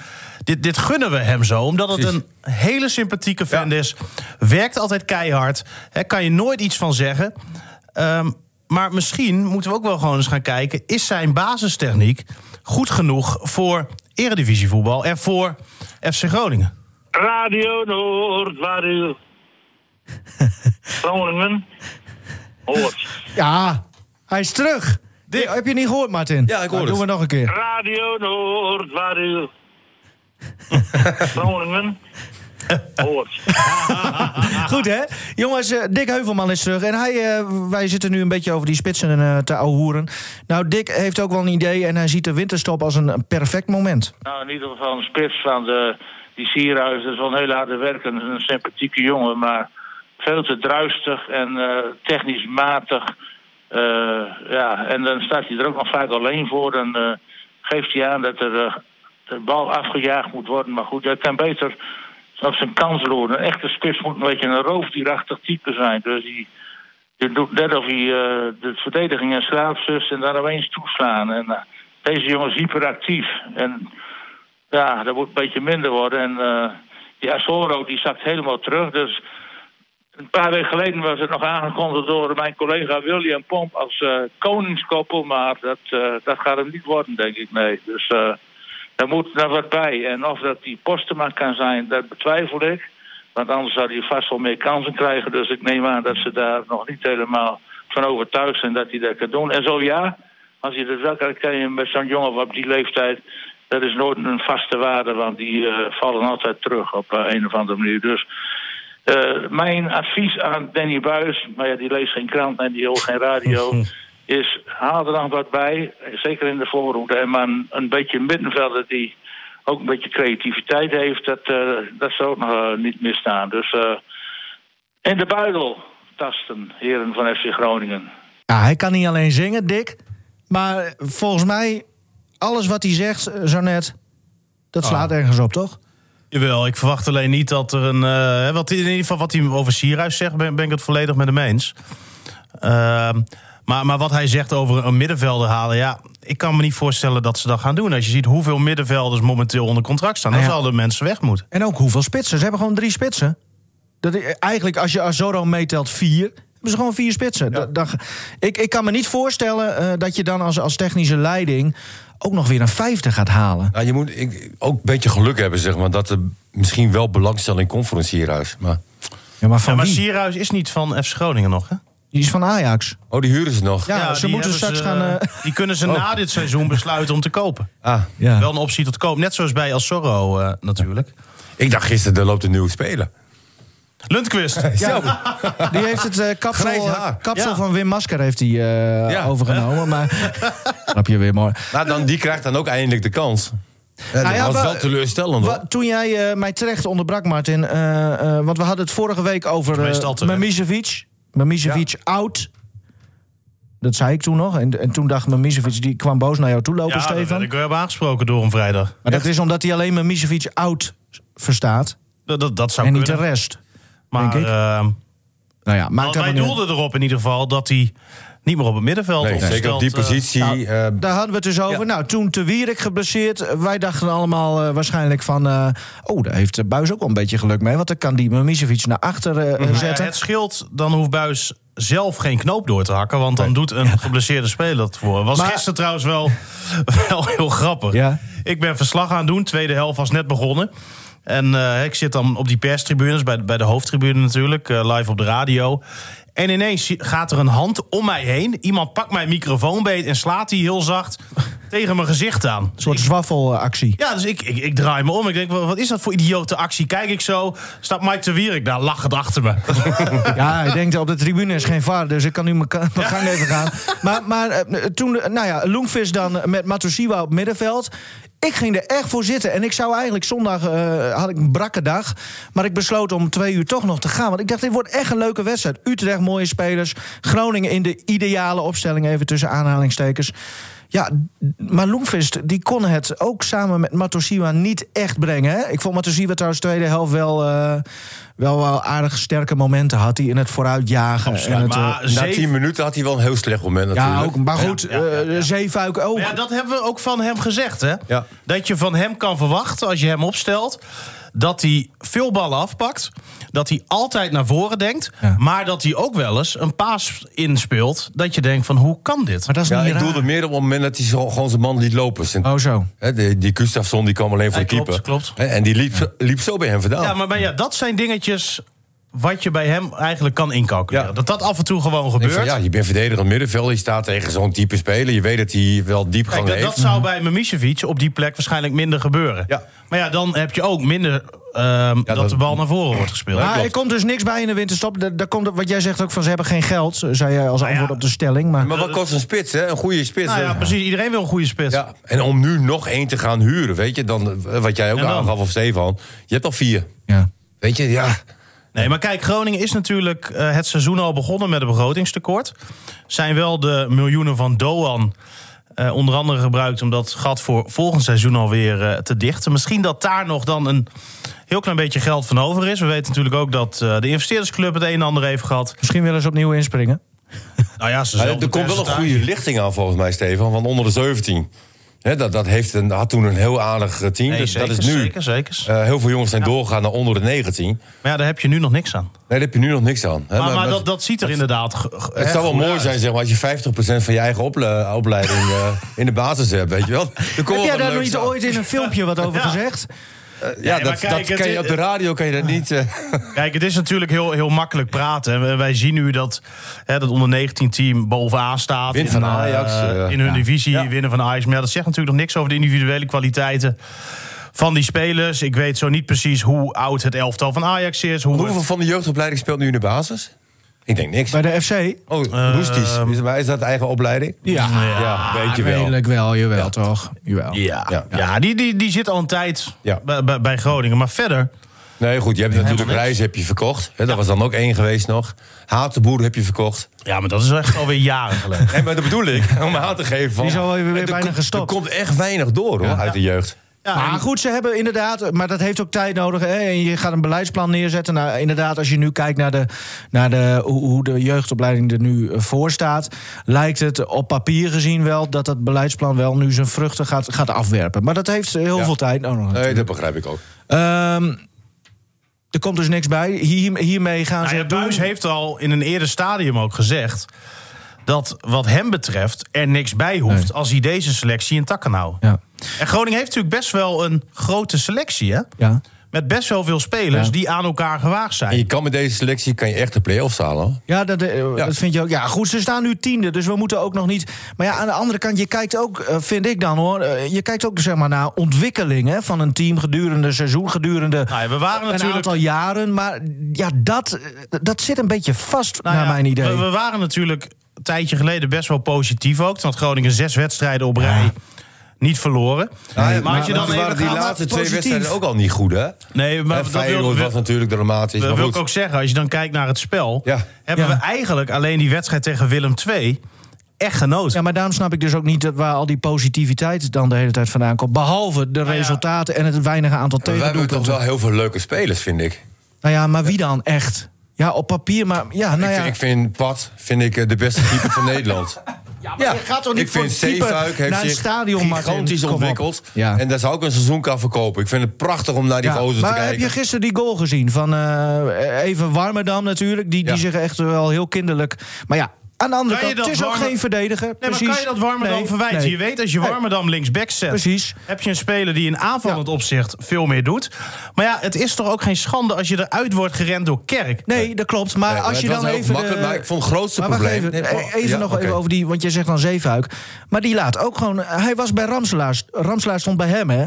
Speaker 4: dit, dit gunnen we hem zo. Omdat het
Speaker 3: Precies.
Speaker 4: een hele sympathieke fan
Speaker 3: Ja.
Speaker 4: is. Werkt altijd keihard. Hè? Kan je nooit iets van zeggen. Ehm, maar misschien moeten we ook wel gewoon eens gaan kijken... is zijn basistechniek goed genoeg voor eredivisievoetbal... en voor FC Groningen?
Speaker 5: Radio Noord, waar u... Groningen hoort.
Speaker 2: ja, hij is terug.
Speaker 4: Dick.
Speaker 2: Heb je niet gehoord, Martin?
Speaker 3: Ja, ik hoor
Speaker 2: Nou, Doen
Speaker 3: het.
Speaker 2: we nog een keer.
Speaker 5: Radio Noord, waar u... Groningen hoort.
Speaker 2: Goed, hè? Jongens, eh, Dick Heuvelman is terug. En hij, eh, wij zitten nu een beetje over die spitsen eh, te ouwehoeren. Nou, Dick heeft ook wel een idee en hij ziet de winterstop als een perfect moment.
Speaker 5: Nou, in ieder geval een spits van de, die Sierhuis. Dat is wel een hele harde werker. Een sympathieke jongen, maar veel te druistig en eh, technisch matig. Eh, ja, en dan staat hij er ook nog vaak alleen voor. Dan eh, geeft hij aan dat er eh, de bal afgejaagd moet worden. Maar goed, dat kan beter op zijn kans roeren. Een echte spits moet een beetje een roofdierachtig type zijn. Dus die, die doet net of hij eh, de verdediging in slaap zust en daar opeens toeslaan. En, eh, deze jongen is hyperactief. En ja, dat moet een beetje minder worden. En eh die Asoro die zakt helemaal terug. Dus een paar weken geleden was het nog aangekondigd door mijn collega William Pomp als eh, koningskoppel. Maar dat, eh, dat gaat hem niet worden, denk ik. Nee. Dus eh, daar moet daar wat bij. En of dat die Postema kan zijn, dat betwijfel ik. Want anders zou hij vast wel meer kansen krijgen. Dus ik neem aan dat ze daar nog niet helemaal van overtuigd zijn dat hij dat kan doen. En zo ja, als je dat wel kan, kan je met zo'n jongen op die leeftijd. Dat is nooit een vaste waarde, want die eh, vallen altijd terug op eh, een of andere manier. Dus eh, mijn advies aan Danny Buis, maar ja, die leest geen krant en die hoort geen radio, is haal er dan wat bij, zeker in de voorhoede. En maar een, een beetje middenvelder die ook een beetje creativiteit heeft, dat, eh, dat zou ook nog eh, niet misstaan. Dus eh, in de buidel tasten, heren van FC Groningen.
Speaker 2: Ja, hij kan niet alleen zingen, Dick. Maar volgens mij, alles wat hij zegt eh, zo net, dat
Speaker 4: Ah.
Speaker 2: slaat ergens op, toch?
Speaker 4: Jawel, ik verwacht alleen niet dat er een. eh, wat, in ieder geval wat hij over Sierhuis zegt, ben, ben ik het volledig met hem eens. Ehm, maar, maar wat hij zegt over een middenvelder halen, ja, ik kan me niet voorstellen dat ze dat gaan doen. Als je ziet hoeveel middenvelders momenteel onder contract staan, dan
Speaker 2: Nou ja.
Speaker 4: zouden mensen weg moeten.
Speaker 2: En ook hoeveel spitsen. Ze hebben gewoon drie spitsen. Dat, i- eigenlijk, als je Azoro meetelt, vier. Hebben ze gewoon vier spitsen. Da- da- ik, ik kan me niet voorstellen eh, dat je dan als, als technische leiding... ook nog weer een vijfde gaat halen.
Speaker 3: Nou, je moet ik, ook een beetje geluk hebben, zeg maar. Dat er misschien wel belangstelling komt voor een sierhuis. Maar,
Speaker 2: Ja, maar
Speaker 4: Ja,
Speaker 2: van
Speaker 4: maar
Speaker 2: wie?
Speaker 4: Sierhuis is niet van FC Groningen nog, hè?
Speaker 2: Die is van Ajax.
Speaker 3: oh, die huren ze nog.
Speaker 2: Ja, ze
Speaker 4: die
Speaker 2: moeten
Speaker 4: hebben
Speaker 2: straks
Speaker 4: ze-
Speaker 2: gaan... eh,
Speaker 4: Die kunnen ze na dit seizoen besluiten om te kopen.
Speaker 3: Ah,
Speaker 2: ja.
Speaker 4: Wel een optie tot koop. Net zoals bij Alsorro eh, natuurlijk.
Speaker 3: ik dacht gisteren, er loopt een nieuwe speler.
Speaker 4: Lundqvist.
Speaker 3: Zo.
Speaker 2: Die heeft het eh,
Speaker 3: Grijs
Speaker 2: kapsel,
Speaker 3: haar.
Speaker 2: kapsel
Speaker 4: Ja.
Speaker 2: van Wim Masker heeft hij eh,
Speaker 3: Ja.
Speaker 2: overgenomen. Maar snap je weer mooi.
Speaker 3: Nou, dan, die krijgt dan ook eindelijk de kans. Ja,
Speaker 2: Nou ja,
Speaker 3: dat was
Speaker 2: wel-
Speaker 3: wel teleurstellend. hoor.
Speaker 2: Wa- toen jij eh, mij terecht onderbrak, Martin. eh, eh, want we hadden het vorige week over
Speaker 4: Meestal
Speaker 2: eh
Speaker 4: terecht.
Speaker 2: Mamisevic. Mamisevic oud. Dat zei ik toen nog. En, en toen dacht Mamisevic, die kwam boos naar jou toe lopen,
Speaker 4: Ja, daar
Speaker 2: Stefan.
Speaker 4: werd ik wel aangesproken door hem vrijdag.
Speaker 2: Maar dat is omdat hij alleen Mamisevic oud verstaat.
Speaker 4: Dat, dat, dat zou
Speaker 2: en niet
Speaker 4: kunnen.
Speaker 2: de rest.
Speaker 4: maar
Speaker 2: denk ik.
Speaker 4: ehm,
Speaker 2: Nou ja, maakt
Speaker 4: want wij
Speaker 2: helemaal niet uit.
Speaker 4: doelden erop in ieder geval dat hij niet meer op het middenveld
Speaker 3: nee,
Speaker 4: opgesteld,
Speaker 3: zeker op die
Speaker 4: eh,
Speaker 3: positie.
Speaker 2: Nou,
Speaker 3: eh,
Speaker 2: Daar hadden we het dus over. Nou, toen Te Wierik geblesseerd. Wij dachten allemaal eh, waarschijnlijk van... eh, oh, daar heeft eh, Buis ook wel een beetje geluk mee. Want dan kan die Mamisevic naar achter eh,
Speaker 4: nou ja,
Speaker 2: zetten.
Speaker 4: het scheelt, dan hoeft Buis zelf geen knoop door te hakken. Want dan doet een geblesseerde speler dat voor. Was
Speaker 2: Maar-
Speaker 4: gisteren trouwens wel, wel heel grappig.
Speaker 2: Ja.
Speaker 4: Ik ben verslag aan het doen. Tweede helft was net begonnen. En eh, ik zit dan op die perstribunes, bij, de- bij de hoofdtribune natuurlijk, eh, live op de radio. En ineens zie- gaat er een hand om mij heen. Iemand pakt mijn microfoon beet en slaat die heel zacht tegen mijn gezicht aan. Dus
Speaker 2: Een soort zwaffelactie.
Speaker 4: Ja, dus ik, ik, ik draai me om. Ik denk, wa- wat is dat voor idiote actie? Kijk ik zo, staat Mike de Wierik daar lachend achter me.
Speaker 2: Ja, ik denk dat op de tribune is geen vaar, dus ik kan nu mijn ka- mijn gang even gaan. Maar, maar eh, toen, eh, nou ja, Loengvis dan met Matosiwa op middenveld. Ik ging er echt voor zitten. En ik zou eigenlijk zondag, eh, had ik een brakke dag. Maar ik besloot om twee uur toch nog te gaan. Want ik dacht, dit wordt echt een leuke wedstrijd. Utrecht, mooie spelers. Groningen in de ideale opstelling, even tussen aanhalingstekens. Ja, d- maar Loemvist, die kon het ook samen met Matosiwa niet echt brengen. Hè? Ik vond Matosiwa trouwens de tweede helft wel, eh, wel, wel aardig sterke momenten had. hij in het vooruitjagen. en het, eh,
Speaker 4: maar
Speaker 3: na
Speaker 4: zeven-
Speaker 3: 10 minuten had hij wel een heel slecht moment natuurlijk.
Speaker 2: ja, ook, maar goed,
Speaker 4: Ja, ja, ja, ja.
Speaker 2: eh, Zeefuik ook.
Speaker 4: Maar Nou ja, dat hebben we ook van hem gezegd, hè?
Speaker 3: Ja.
Speaker 4: Dat je van hem kan verwachten, als je hem opstelt... dat hij veel ballen afpakt, dat hij altijd naar voren denkt...
Speaker 2: Ja.
Speaker 4: maar dat hij ook wel eens een paas inspeelt... dat je denkt van, hoe kan dit?
Speaker 2: Maar dat is
Speaker 3: Ja,
Speaker 2: niet
Speaker 3: ik
Speaker 2: raar.
Speaker 3: doelde meer op het moment dat hij zo- gewoon zijn man liet lopen. Zijn-
Speaker 2: Oh, zo.
Speaker 3: Hè, die, die Gustafsson die kwam alleen voor
Speaker 4: Ja,
Speaker 3: de keeper.
Speaker 4: klopt, klopt.
Speaker 3: Hè, En die liep, liep zo bij hem vandaan.
Speaker 4: Ja, maar, maar ja, dat zijn dingetjes wat je bij hem eigenlijk kan incalculeren.
Speaker 3: Ja.
Speaker 4: Dat dat af en toe gewoon
Speaker 3: Ik denk
Speaker 4: gebeurt.
Speaker 3: van, ja, je bent verdediger middenvelder. Je staat tegen zo'n type speler. Je weet dat hij wel diepgang
Speaker 4: Kijk, dat,
Speaker 3: heeft.
Speaker 4: dat zou bij Mimicevic op die plek waarschijnlijk minder gebeuren.
Speaker 3: Ja.
Speaker 4: Maar ja, dan heb je ook minder ehm, dat,
Speaker 3: dat-
Speaker 4: de bal naar voren wordt gespeeld.
Speaker 2: Maar er komt dus niks bij in de winterstop. Daar, daar komt, wat jij zegt ook van ze hebben geen geld, zei jij als
Speaker 4: ja.
Speaker 2: antwoord op de stelling. Maar,
Speaker 3: Maar wat kost een spits, hè? Een goede spits.
Speaker 4: Nou ja,
Speaker 3: hè?
Speaker 4: precies. Iedereen wil een goede spits.
Speaker 3: Ja, en om nu nog één te gaan huren, weet je, dan, eh, wat jij ook
Speaker 4: En dan?
Speaker 3: aangaf of Stefan, je hebt al vier.
Speaker 2: ja.
Speaker 3: Weet je, ja.
Speaker 4: Nee, maar kijk, Groningen is natuurlijk eh, het seizoen al begonnen met een begrotingstekort. Zijn wel de miljoenen van Doan eh, onder andere gebruikt om dat gat voor volgend seizoen alweer eh, te dichten. Misschien dat daar nog dan een heel klein beetje geld van over is. We weten natuurlijk ook dat eh, de investeerdersclub het een en ander heeft gehad.
Speaker 2: Misschien willen ze opnieuw inspringen.
Speaker 4: Nou ja, ze
Speaker 3: Maar
Speaker 4: zelf
Speaker 3: er komt wel een goede lichting aan volgens mij, Stefan, want onder de 17. Hè, dat dat heeft een, had toen een heel aardig eh, team.
Speaker 4: Nee,
Speaker 3: dus
Speaker 4: zeker,
Speaker 3: dat is nu.
Speaker 4: zeker, zeker.
Speaker 3: eh, heel veel jongens zijn doorgegaan naar onder de 19. Nee,
Speaker 4: Maar ja, daar heb je nu nog niks aan.
Speaker 3: daar heb je nu nog niks aan. hè.
Speaker 4: Maar, maar,
Speaker 3: Maar-
Speaker 4: dat, dat ziet er inderdaad. ge- ge-
Speaker 3: Het
Speaker 4: hè,
Speaker 3: zou wel
Speaker 4: goed
Speaker 3: mooi
Speaker 4: uit.
Speaker 3: zijn, zeg maar, als je 50% van je eigen ople- opleiding eh, in de basis hebt, weet je wel. Dan komt wel
Speaker 2: Heb jij
Speaker 3: wat
Speaker 2: daar
Speaker 3: leuks
Speaker 2: niet
Speaker 3: aan.
Speaker 2: ooit in een filmpje wat over
Speaker 4: Ja.
Speaker 2: gezegd?
Speaker 3: Ja,
Speaker 4: Nee,
Speaker 3: dat,
Speaker 4: maar kijk,
Speaker 3: dat
Speaker 4: het
Speaker 3: kan
Speaker 4: is-
Speaker 3: je op de radio kan je dat niet. eh,
Speaker 4: Kijk, het is natuurlijk heel, heel makkelijk praten. En wij- Wij zien nu dat hè, dat onder 19 team bovenaan staat.
Speaker 3: Wint van
Speaker 4: eh,
Speaker 3: Ajax, eh,
Speaker 4: in hun
Speaker 3: ja.
Speaker 4: divisie, winnen van Ajax. Maar ja, dat zegt natuurlijk nog niks over de individuele kwaliteiten van die spelers. Ik weet zo niet precies hoe oud het elftal van Ajax is. Hoe
Speaker 3: hoeveel van de jeugdopleiding speelt nu in de basis? Ik denk niks.
Speaker 2: Bij de FC?
Speaker 3: Oh,
Speaker 4: Eh,
Speaker 3: roestisch. Is, maar is dat de eigen opleiding?
Speaker 2: Ja,
Speaker 3: Ja,
Speaker 4: Ah,
Speaker 3: weet je wel.
Speaker 2: redelijk wel. Jawel, toch? Jawel.
Speaker 4: ja.
Speaker 3: Ja.
Speaker 4: Ja, die, die, die zit al een tijd
Speaker 3: Ja.
Speaker 4: bij, bij, bij Groningen. Maar verder
Speaker 3: Nee, goed, je hebt natuurlijk Reis heb je verkocht. Hè, dat was dan ook één geweest nog. Hatenboer heb je verkocht.
Speaker 4: Ja, maar dat is echt alweer jaren geleden.
Speaker 3: Nee, maar dat bedoel ik, om aan te geven van...
Speaker 2: Die is al weer
Speaker 3: er
Speaker 2: bijna
Speaker 3: komt-
Speaker 2: gestopt.
Speaker 3: Er komt echt weinig door, hoor, uit de jeugd.
Speaker 4: Ja,
Speaker 2: maar
Speaker 4: en-
Speaker 2: goed, ze hebben inderdaad, maar dat heeft ook tijd nodig. Hè? En je gaat een beleidsplan neerzetten. Nou, inderdaad, als je nu kijkt naar, de, naar de, hoe, hoe de jeugdopleiding er nu eh, voor staat, lijkt het op papier gezien wel dat dat beleidsplan wel nu zijn vruchten gaat, gaat afwerpen. Maar dat heeft heel
Speaker 3: Ja.
Speaker 2: veel tijd nodig.
Speaker 3: Nee, dat begrijp ik ook.
Speaker 2: Ehm, er komt dus niks bij. Hier, hiermee gaan
Speaker 4: Nou
Speaker 2: ze
Speaker 4: ja,
Speaker 2: het doen.
Speaker 4: Buis heeft al in een eerder stadium ook gezegd dat wat hem betreft er niks bij hoeft als hij deze selectie in tak kan houden.
Speaker 2: Ja.
Speaker 4: En Groningen heeft natuurlijk best wel een grote selectie, hè?
Speaker 2: Ja.
Speaker 4: Met best wel veel spelers
Speaker 2: Ja.
Speaker 4: die aan elkaar gewaagd
Speaker 3: En je
Speaker 4: zijn.
Speaker 3: kan met deze selectie kan je echt de play-offs halen. hoor.
Speaker 2: Ja, dat, eh, dat vind je ook. Ja, goed, ze staan nu tiende, dus we moeten ook nog niet... Maar ja, aan de andere kant, je kijkt ook, eh, vind ik dan hoor... eh, je kijkt ook zeg maar, naar ontwikkeling hè, van een team gedurende een seizoen... gedurende
Speaker 4: Nou ja, we waren
Speaker 2: een
Speaker 4: natuurlijk-
Speaker 2: aantal jaren. Maar ja, dat, eh, dat zit een beetje vast,
Speaker 4: Nou
Speaker 2: naar
Speaker 4: ja,
Speaker 2: mijn idee.
Speaker 4: We, we waren natuurlijk een tijdje geleden best wel positief ook. Toen had Groningen zes wedstrijden op rij niet verloren. maar, als je dan
Speaker 3: toen
Speaker 4: even
Speaker 3: waren die
Speaker 4: gaat-
Speaker 3: laatste twee
Speaker 2: positief.
Speaker 3: wedstrijden ook al niet goed, hè?
Speaker 4: Nee, maar
Speaker 3: Hè,
Speaker 4: dat wil,
Speaker 3: Feyenoord was natuurlijk dramatisch.
Speaker 4: Dat
Speaker 3: maar
Speaker 4: wil
Speaker 3: goed.
Speaker 4: ik ook zeggen, als je dan kijkt naar het spel,
Speaker 3: Ja.
Speaker 4: hebben
Speaker 2: Ja.
Speaker 4: we eigenlijk alleen die wedstrijd tegen Willem II echt genoten.
Speaker 2: Ja, maar daarom snap ik dus ook niet dat waar al die positiviteit dan de hele tijd vandaan komt. Behalve de
Speaker 4: Nou ja.
Speaker 2: resultaten en het weinige aantal
Speaker 3: We hebben toch
Speaker 2: tegendoelpunten.
Speaker 3: wel heel veel leuke spelers, vind ik.
Speaker 2: Nou ja, maar wie dan echt? Ja, op papier, maar ja, nou
Speaker 3: ik,
Speaker 2: ja.
Speaker 3: vind, ik vind Pat vind ik, eh, de beste keeper van Nederland.
Speaker 2: Ja, je gaat toch niet
Speaker 3: ik
Speaker 2: voor
Speaker 3: vind
Speaker 2: een keeper
Speaker 3: Zeefuik heeft
Speaker 2: naar een
Speaker 3: zich
Speaker 2: stadion, Martin?
Speaker 3: gigantisch
Speaker 2: Kom op.
Speaker 3: ontwikkeld.
Speaker 2: Ja.
Speaker 3: En daar zou ik een seizoen aan verkopen. Ik vind het prachtig om naar die
Speaker 2: Ja,
Speaker 3: gozer te
Speaker 2: maar heb
Speaker 3: kijken.
Speaker 2: je gisteren die goal gezien van eh, even Warmerdam natuurlijk? Die, die
Speaker 3: Ja.
Speaker 2: zich echt wel heel kinderlijk... Maar ja, aan de andere
Speaker 4: Kan je
Speaker 2: kant, het
Speaker 4: dat
Speaker 2: is ook
Speaker 4: Warmer-
Speaker 2: geen verdediger.
Speaker 4: Nee, maar
Speaker 2: precies.
Speaker 4: kan je dat Warmerdam
Speaker 2: Nee,
Speaker 4: verwijten?
Speaker 2: nee.
Speaker 4: Je weet, als je Warmerdam linksback zet...
Speaker 2: Precies.
Speaker 4: heb je een speler die in aanvallend opzicht veel meer doet. Maar ja, het is toch ook geen schande als je eruit wordt gerend door Kerk.
Speaker 2: Nee, dat klopt. Maar
Speaker 3: Nee,
Speaker 2: als
Speaker 3: het
Speaker 2: je
Speaker 3: was
Speaker 2: dan
Speaker 3: heel
Speaker 2: even...
Speaker 3: makkelijk,
Speaker 2: de-
Speaker 3: maar ik vond het grootste
Speaker 2: maar wacht
Speaker 3: probleem-
Speaker 2: even,
Speaker 3: Nee,
Speaker 2: e-
Speaker 3: maar-
Speaker 2: even
Speaker 3: ja,
Speaker 2: nog
Speaker 3: oké.
Speaker 2: even over die... Want jij zegt dan Zeefuik. Maar die laat ook gewoon... Hij was bij Ramselaar. Ramselaar stond bij hem, hè?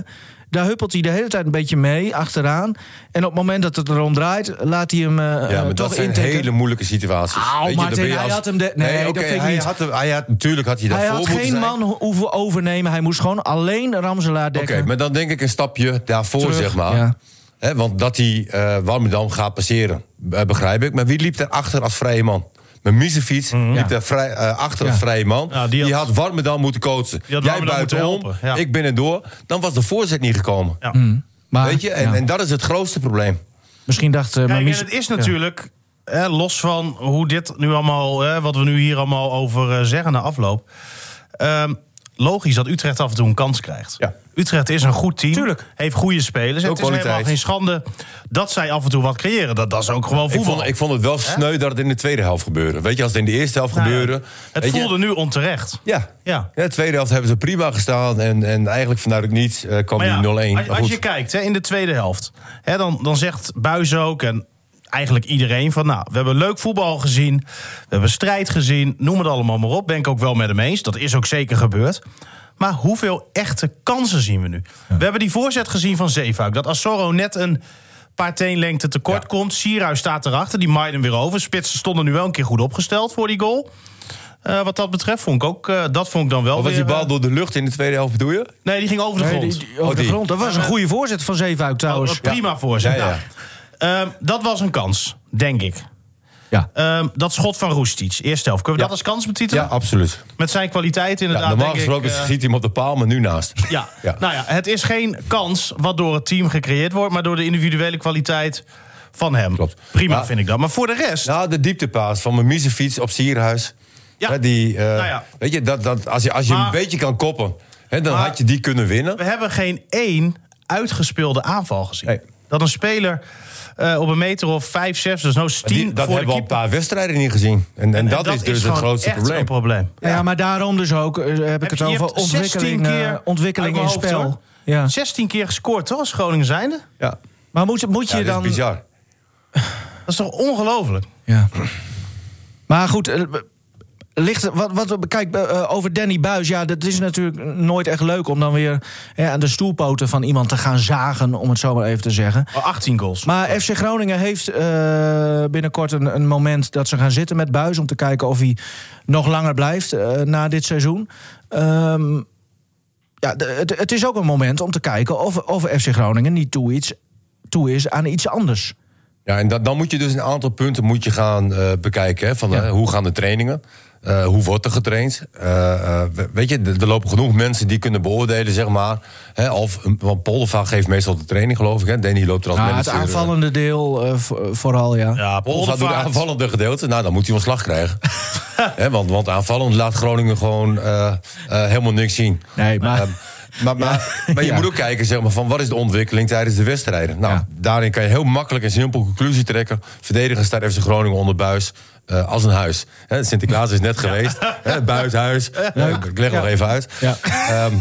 Speaker 2: Daar huppelt hij de hele tijd een beetje mee, achteraan. En op het moment dat het erom draait, laat hij hem eh,
Speaker 3: Ja,
Speaker 2: eh,
Speaker 3: maar dat
Speaker 2: toch
Speaker 3: zijn
Speaker 2: intikken.
Speaker 3: hele moeilijke situaties.
Speaker 2: Au,
Speaker 3: Weet je, dan
Speaker 2: Martin,
Speaker 3: ben je
Speaker 2: hij
Speaker 3: als-
Speaker 2: had hem de- nee, dat
Speaker 3: oké,
Speaker 2: vind ik
Speaker 3: hij
Speaker 2: niet.
Speaker 3: Had, hem- hij had, natuurlijk had hij
Speaker 2: Hij
Speaker 3: daarvoor
Speaker 2: had
Speaker 3: moeten
Speaker 2: geen
Speaker 3: zijn.
Speaker 2: man ho- hoeven overnemen. Hij moest gewoon alleen Ramselaar
Speaker 3: Oké,
Speaker 2: dekken.
Speaker 3: maar dan denk ik een stapje daarvoor,
Speaker 2: Terug,
Speaker 3: zeg maar.
Speaker 2: ja.
Speaker 3: Hè, want dat hij eh Warmerdam gaat passeren, eh, begrijp ik. Maar wie liep daarachter als vrije man? Mijn Misefiets liep daar vrij, eh, achter als vrije man.
Speaker 4: Mhm. Ja, die
Speaker 3: die,
Speaker 4: had-
Speaker 3: had, Warmerdam moeten coachen.
Speaker 4: had
Speaker 3: Jij
Speaker 4: Warmerdam moeten
Speaker 3: buitenom,
Speaker 4: helpen, ja.
Speaker 3: ik binnendoor. Dan was de voorzet niet gekomen.
Speaker 4: Ja.
Speaker 2: Maar,
Speaker 3: Weet je? En,
Speaker 2: ja,
Speaker 3: en dat is het grootste probleem.
Speaker 2: misschien dacht... eh, maar
Speaker 4: Kijk, en
Speaker 2: Mies-
Speaker 4: het is natuurlijk, hè, los van hoe dit nu allemaal, hè, wat we nu hier allemaal over eh, zeggen na afloop. ehm, logisch dat Utrecht af en toe een kans krijgt.
Speaker 3: Ja.
Speaker 4: Utrecht is een goed team,
Speaker 2: Tuurlijk.
Speaker 4: heeft goede spelers. en
Speaker 3: Ook
Speaker 4: Het is helemaal
Speaker 3: kwaliteit.
Speaker 4: geen schande dat zij af en toe wat creëren. Dat, dat is ook gewoon
Speaker 3: Ik
Speaker 4: voetbal.
Speaker 3: vond, ik vond het wel sneu dat het in de tweede helft gebeurde. Weet je, als het in de eerste helft
Speaker 4: Nou ja,
Speaker 3: gebeurde...
Speaker 4: het
Speaker 3: weet je-
Speaker 4: voelde nu onterecht.
Speaker 3: Ja.
Speaker 4: Ja.
Speaker 3: ja. de tweede helft hebben ze prima gestaan. En, en eigenlijk vanuit het niets eh, kwam
Speaker 4: Maar ja,
Speaker 3: die 0-1.
Speaker 4: als, als
Speaker 3: Goed.
Speaker 4: je kijkt hè, in de tweede helft, hè, dan, dan zegt Buis ook en eigenlijk iedereen van... nou, we hebben leuk voetbal gezien, we hebben strijd gezien, noem het allemaal maar op. Ben ik ook wel met hem eens, dat is ook zeker gebeurd. Maar hoeveel echte kansen zien we nu? We hebben die voorzet gezien van Zeefuik. Dat Assoro net een paar teenlengte tekort komt. Sierhuis staat erachter, die maait hem weer over. Spitsen stonden nu wel een keer goed opgesteld voor die goal. Eh, wat dat betreft vond ik ook, eh, dat vond ik dan wel
Speaker 3: Of was die
Speaker 4: weer,
Speaker 3: bal
Speaker 4: eh,
Speaker 3: door de lucht in de tweede helft, bedoel je?
Speaker 4: Nee, die ging over de
Speaker 2: Nee,
Speaker 4: grond.
Speaker 2: die- die- over
Speaker 3: Oh,
Speaker 2: de
Speaker 3: die.
Speaker 2: grond. Dat was een goede voorzet van Zeefuik
Speaker 4: Oh,
Speaker 2: trouwens.
Speaker 4: wat prima voor ze.
Speaker 3: Ja, ja.
Speaker 4: Nou, ehm, dat was een kans, denk ik.
Speaker 2: Ja.
Speaker 4: Ehm, dat schot van Roestic, eerste helft. Kunnen we
Speaker 3: Ja.
Speaker 4: dat als kans
Speaker 3: Ja,
Speaker 4: betitelen?
Speaker 3: absoluut.
Speaker 4: Met zijn kwaliteit
Speaker 3: Ja,
Speaker 4: inderdaad.
Speaker 3: normaal
Speaker 4: denk ik,
Speaker 3: gesproken
Speaker 4: eh,
Speaker 3: schiet hij hem op de paal, maar nu naast.
Speaker 4: ja.
Speaker 3: Ja.
Speaker 4: nou ja, het is geen kans wat door het team gecreëerd wordt... maar door de individuele kwaliteit van hem.
Speaker 3: Klopt.
Speaker 4: Prima
Speaker 3: Maar-
Speaker 4: vind ik dat. Maar voor de rest...
Speaker 3: Nou, de dieptepaas van mijn miezenfiets op Sierhuis.
Speaker 4: Ja.
Speaker 3: Hè, die, eh,
Speaker 4: Nou ja.
Speaker 3: Weet je, dat, dat, als je, als je
Speaker 4: Maar-
Speaker 3: een beetje kan koppen, hè, dan
Speaker 4: Maar-
Speaker 3: had je die kunnen winnen.
Speaker 4: We hebben geen één uitgespeelde aanval gezien.
Speaker 3: Nee.
Speaker 4: Dat een speler eh, op een meter of vijf, zes, dus nou
Speaker 3: Die-
Speaker 4: tien
Speaker 3: dat hebben
Speaker 4: voor
Speaker 3: we al
Speaker 4: de
Speaker 3: een
Speaker 4: keeper.
Speaker 3: paar wedstrijden niet gezien. En, en, dat, is dus het
Speaker 4: gewoon
Speaker 3: grootste
Speaker 4: echt
Speaker 3: probleem.
Speaker 4: een probleem.
Speaker 2: Ja, ja, maar daarom dus ook eh, heb ik
Speaker 4: Heb
Speaker 2: het
Speaker 4: je- je
Speaker 2: over
Speaker 4: hebt 16
Speaker 2: ontwikkeling, eh,
Speaker 4: keer
Speaker 2: ontwikkeling
Speaker 4: uit
Speaker 2: in
Speaker 4: mijn hoofd, hoor.
Speaker 2: spel. Ja.
Speaker 4: 16 keer gescoord, toch? Als Groningen zijnde?
Speaker 3: Ja.
Speaker 2: Maar moet, moet je
Speaker 3: Ja, dat
Speaker 2: dan...
Speaker 3: is bizar.
Speaker 4: Dat is toch ongelooflijk?
Speaker 2: Ja. Maar goed, eh, ligt, wat, wat, kijk, eh, over Danny Buis. Ja, dat is natuurlijk nooit echt leuk om dan weer hè, aan de stoelpoten van iemand te gaan zagen, om het zo maar even te zeggen.
Speaker 4: Oh, 18 goals.
Speaker 2: Maar FC Groningen heeft eh, binnenkort een, een moment dat ze gaan zitten met Buis. Om te kijken of hij nog langer blijft eh, na dit seizoen. Ehm, ja, de- het, het is ook een moment om te kijken of, of FC Groningen niet toe iets. toe is aan iets anders.
Speaker 3: Ja, en dat, dan moet je dus een aantal punten moet je gaan eh, bekijken. Hè, van, eh, hoe gaan de trainingen? Eh, hoe wordt er getraind? Eh, eh, we- weet je, d- er lopen genoeg mensen die kunnen beoordelen, zeg maar. Hè, of, want Poldervaag geeft meestal de training, geloof ik. Hè. Danny loopt er als
Speaker 2: Ja, het
Speaker 3: manager. eh,
Speaker 2: aanvallende deel eh, vo- vooral, ja.
Speaker 4: Ja,
Speaker 3: Poldervaart doet het
Speaker 4: Poldervaart.
Speaker 3: aanvallende gedeelte. Nou, dan moet hij ontslag krijgen. Hè, want, want aanvallend laat Groningen gewoon eh, eh, helemaal niks zien.
Speaker 2: Nee, maar-
Speaker 3: Ehm, maar, maar, maar je
Speaker 2: Ja.
Speaker 3: moet ook kijken zeg maar, van wat is de ontwikkeling tijdens de wedstrijden. Nou,
Speaker 2: Ja.
Speaker 3: daarin kan je heel makkelijk en simpel conclusie trekken. Verdedigen staat FC Groningen onder buis. eh, als een huis. Hè, Sinterklaas is net geweest. Hè, buithuis. Nou, ik leg nog even uit.
Speaker 2: Ja.
Speaker 3: Ehm,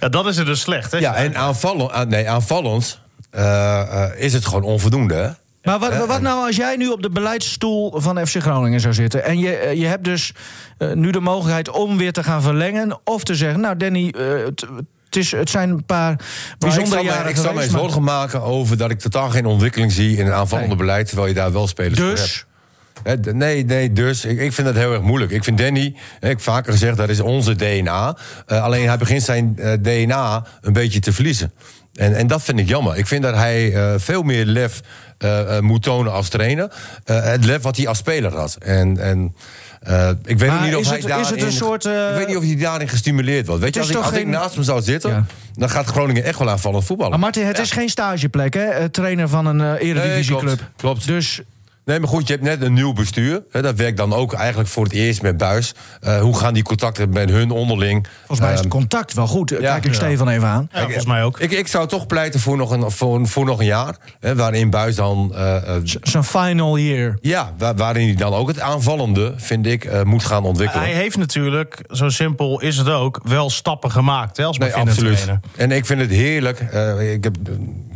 Speaker 4: Ja, dat is het dus slecht, hè?
Speaker 3: ja, en aanvallend, ah, nee, aanvallend eh, eh, is het gewoon onvoldoende. Hè?
Speaker 2: Maar wat, wat nou als jij nu op de beleidsstoel van FC Groningen zou zitten... en je, eh, je hebt dus eh, nu de mogelijkheid om weer te gaan verlengen... of te zeggen, nou Danny, eh, het, het is, het zijn een paar
Speaker 3: Maar
Speaker 2: bijzondere
Speaker 3: ik zou
Speaker 2: jaren
Speaker 3: mij, ik zou mij
Speaker 2: geweest, maar-
Speaker 3: zorgen maken over dat ik totaal geen ontwikkeling zie in een aanvallende
Speaker 2: Nee.
Speaker 3: beleid, terwijl je daar wel spelers voor
Speaker 2: Dus,
Speaker 3: hebt. Hè, d- Nee, nee, dus. Ik, ik vind dat heel erg moeilijk. Ik vind Danny, hè, ik heb vaker gezegd, dat is onze DNA. Eh, alleen hij begint zijn eh, DNA een beetje te verliezen. En, en dat vind ik jammer. Ik vind dat hij eh, veel meer lef eh, eh, moet tonen als trainer. Eh, het lef wat hij als speler had. En, en eh, ik weet
Speaker 2: Maar
Speaker 3: ook niet of
Speaker 2: is
Speaker 3: hij
Speaker 2: het- is
Speaker 3: daarin...
Speaker 2: het een soort, eh,
Speaker 3: ik weet niet of hij daarin gestimuleerd wordt. Weet je,
Speaker 2: Het
Speaker 3: als,
Speaker 2: is
Speaker 3: ik, als
Speaker 2: toch
Speaker 3: ik
Speaker 2: geen-
Speaker 3: naast hem zou zitten...
Speaker 2: Ja.
Speaker 3: dan gaat Groningen echt wel aanvallend voetballen.
Speaker 2: maar Martin, het is geen stageplek, hè? eh, Trainer van een eh, eredivisieclub.
Speaker 3: Nee, klopt, klopt.
Speaker 2: Dus
Speaker 3: Nee, maar goed, je hebt net een nieuw bestuur. Hè, dat werkt dan ook eigenlijk voor het eerst met Buis. Eh, hoe gaan die contacten met hun onderling?
Speaker 2: volgens mij is het
Speaker 3: Ehm,
Speaker 2: contact wel goed. Kijk ik
Speaker 3: ja.
Speaker 2: Stefan even aan.
Speaker 4: Ja, volgens mij ook.
Speaker 3: ik, ik zou toch pleiten voor nog een, voor, voor nog een jaar. Hè, waarin Buis dan. eh, eh,
Speaker 2: Zijn final year.
Speaker 3: ja, wa- waarin hij dan ook het aanvallende, vind ik, eh, moet gaan ontwikkelen.
Speaker 4: Hij heeft natuurlijk, zo simpel is het ook, wel stappen gemaakt hè, als
Speaker 3: Nee,
Speaker 4: beginnend
Speaker 3: absoluut.
Speaker 4: trainer.
Speaker 3: En ik vind het heerlijk. eh, ik, heb,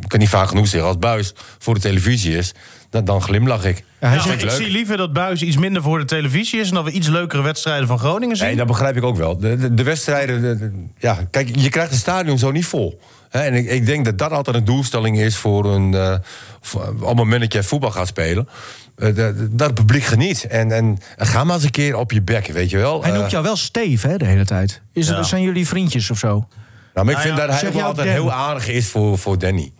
Speaker 3: ik kan niet vaak genoeg zeggen. Als Buis voor de televisie is, dan, dan glimlach ik.
Speaker 2: Ja, hij
Speaker 4: Ja,
Speaker 2: zegt-
Speaker 4: ik
Speaker 3: leuk.
Speaker 4: zie liever dat Buis iets minder voor de televisie is... en dat we iets leukere wedstrijden van Groningen zien.
Speaker 3: Nee, dat begrijp ik ook wel. De, de, de wedstrijden, de- de- ja, kijk, je krijgt het stadion zo niet vol. Hè, en ik, ik denk dat dat altijd een doelstelling is voor een. eh voor- op het moment dat jij voetbal gaat spelen. eh, de- de- dat het publiek geniet. En, en ga maar eens een keer op je bek, weet je wel.
Speaker 2: Hij
Speaker 3: Eh,
Speaker 2: noemt jou wel Steve, hè, de hele tijd. Is,
Speaker 4: Ja.
Speaker 2: Zijn jullie vriendjes of zo?
Speaker 3: nou, maar ik
Speaker 4: Nou
Speaker 3: vind
Speaker 4: ja,
Speaker 3: dat hij
Speaker 2: zeg
Speaker 3: ook wel
Speaker 2: jou
Speaker 3: altijd
Speaker 2: Dan.
Speaker 3: heel aardig is voor, voor Danny.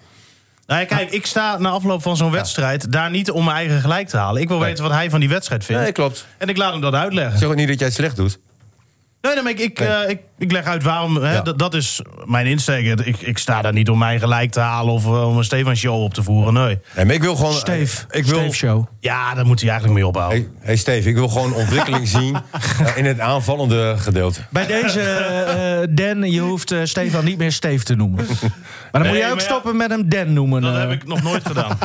Speaker 4: Nou ja, kijk, ik sta na afloop van zo'n wedstrijd daar niet om mijn eigen gelijk te halen. Ik wil weten wat hij van die wedstrijd vindt.
Speaker 3: Nee, klopt.
Speaker 4: En ik laat hem dat uitleggen.
Speaker 3: Zeg ook niet dat jij het slecht doet.
Speaker 4: Nee, nee, maar ik, ik,
Speaker 3: Nee.
Speaker 4: eh, ik, ik leg uit waarom. Hè,
Speaker 3: Ja.
Speaker 4: dat, dat is mijn insteek. Ik, ik sta daar niet om mijn gelijk te halen of eh, om een Stefan Show op te voeren. Nee.
Speaker 3: Nee, maar ik wil gewoon.
Speaker 2: Steve.
Speaker 3: Eh, ik wil,
Speaker 2: Steve Show.
Speaker 4: Ja, daar moet hij eigenlijk mee ophouden.
Speaker 3: Hey, hey Steve, ik wil gewoon ontwikkeling zien eh, in het aanvallende gedeelte.
Speaker 2: Bij deze, eh, Dan, je hoeft eh, Stefan niet meer Steve te noemen. Maar dan moet jij ook
Speaker 4: maar ja,
Speaker 2: stoppen met hem Dan noemen.
Speaker 4: Dat
Speaker 2: eh.
Speaker 4: heb ik nog nooit gedaan.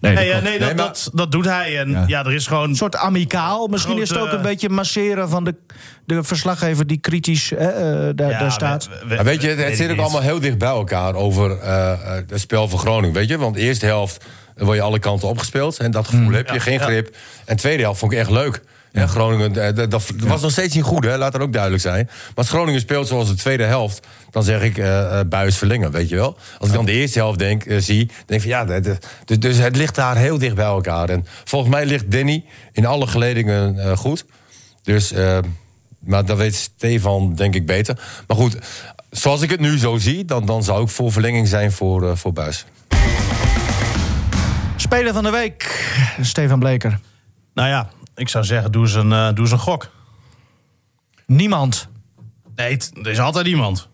Speaker 2: Nee, dat
Speaker 4: Nee, eh,
Speaker 2: klopt.
Speaker 4: nee, dat,
Speaker 3: maar-
Speaker 4: dat, dat doet hij. En ja, er is gewoon.
Speaker 2: Een soort amicaal. Misschien
Speaker 4: Grote- eh,
Speaker 2: is het ook een beetje masseren van de, de verslaggever die kritisch eh, eh, daar,
Speaker 4: Ja,
Speaker 2: daar staat.
Speaker 4: we- we-
Speaker 3: Maar weet je, het,
Speaker 4: weet
Speaker 3: het
Speaker 4: ik
Speaker 3: zit ook
Speaker 4: niet.
Speaker 3: allemaal heel dicht bij elkaar over eh, eh, het spel van Groningen. Weet je, want de eerste helft word je alle kanten opgespeeld. En dat gevoel heb je, geen grip. En de tweede helft vond ik echt leuk. Ja, Groningen, eh, dat, dat was nog steeds niet goed, hè? laat dat ook duidelijk zijn. Maar als Groningen speelt zoals de tweede helft, dan zeg ik eh, eh, buis verlengen, weet je wel. Als ik dan de eerste helft denk, eh, zie, dan denk ik van ja, dat- dat- dus, dus het ligt daar heel dicht bij elkaar. En volgens mij ligt Danny in alle geledingen eh, goed. Dus, eh, maar dat weet Stefan denk ik beter. Maar goed, zoals ik het nu zo zie, dan, dan zou ik voor verlenging zijn voor, eh, voor Buis.
Speaker 2: Speler van de week, Stefan Bleker.
Speaker 4: Nou ja, ik zou zeggen, doe eens een, eh, doe eens een gok.
Speaker 2: Niemand.
Speaker 4: Nee, het- er is altijd iemand.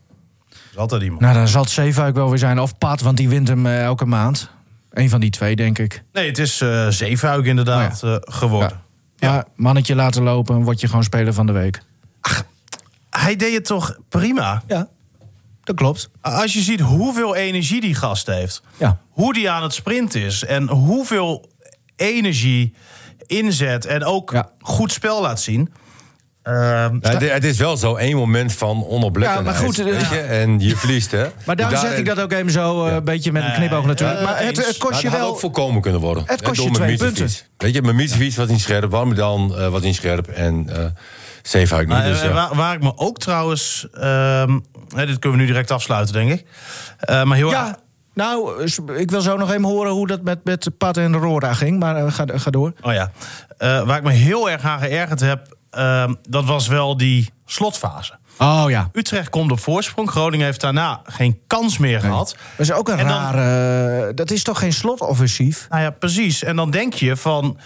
Speaker 4: Er is altijd iemand.
Speaker 2: Nou, dan zal het Zeefuik wel weer zijn. Of Pat, want die wint hem eh, elke maand. Eén van die twee, denk ik.
Speaker 4: Nee, het is eh Zeefuik inderdaad
Speaker 3: Oh
Speaker 4: eh, geworden.
Speaker 2: Maar mannetje laten lopen, word je gewoon speler van de week.
Speaker 4: Hij deed het toch prima?
Speaker 2: Ja, dat klopt.
Speaker 4: Als je ziet hoeveel energie die gast heeft.
Speaker 2: Ja.
Speaker 4: Hoe die aan het sprint is. En hoeveel energie inzet. En ook
Speaker 2: Ja.
Speaker 4: goed spel laat zien. Ehm,
Speaker 3: Nou, het, het is wel zo één moment van onoplettendheid.
Speaker 2: Ja, maar goed,
Speaker 3: weet
Speaker 2: eh,
Speaker 3: je, en je verliest, hè.
Speaker 2: Maar daarom
Speaker 3: Daar-
Speaker 2: zeg ik dat ook even zo, eh, een beetje met een knipoog natuurlijk.
Speaker 3: Eh,
Speaker 4: ja,
Speaker 2: maar het, het
Speaker 4: eens.
Speaker 3: Maar
Speaker 2: kost
Speaker 3: het
Speaker 2: je
Speaker 3: nou, had
Speaker 2: wel...
Speaker 3: ook voorkomen kunnen worden.
Speaker 2: Het
Speaker 3: Hè,
Speaker 2: kost
Speaker 3: door
Speaker 2: je
Speaker 3: mijn
Speaker 2: twee
Speaker 3: mietenfiets. Weet je, mijn mietenfiets was niet scherp. Warmerdam dan was niet scherp. En eh Zeefuik niet.
Speaker 4: Maar,
Speaker 3: dus,
Speaker 4: eh,
Speaker 3: ja.
Speaker 4: waar, waar ik me ook trouwens. ehm, hè, dit kunnen we nu direct afsluiten, denk ik. Eh, maar heel
Speaker 2: Ja.
Speaker 4: erg
Speaker 2: Nou, s- ik wil zo nog even horen hoe dat met, met Pat en Rora ging. Maar eh, ga, ga door.
Speaker 4: Oh ja. Eh, waar ik me heel erg aan geërgerd heb, ehm, dat was wel die slotfase.
Speaker 2: Oh ja.
Speaker 4: Utrecht komt op voorsprong. Groningen heeft daarna geen kans meer gehad.
Speaker 2: Dat is ook een
Speaker 4: En dan-
Speaker 2: rare... eh, dat is toch geen slotoffensief?
Speaker 4: Nou ja, precies. En dan denk je van.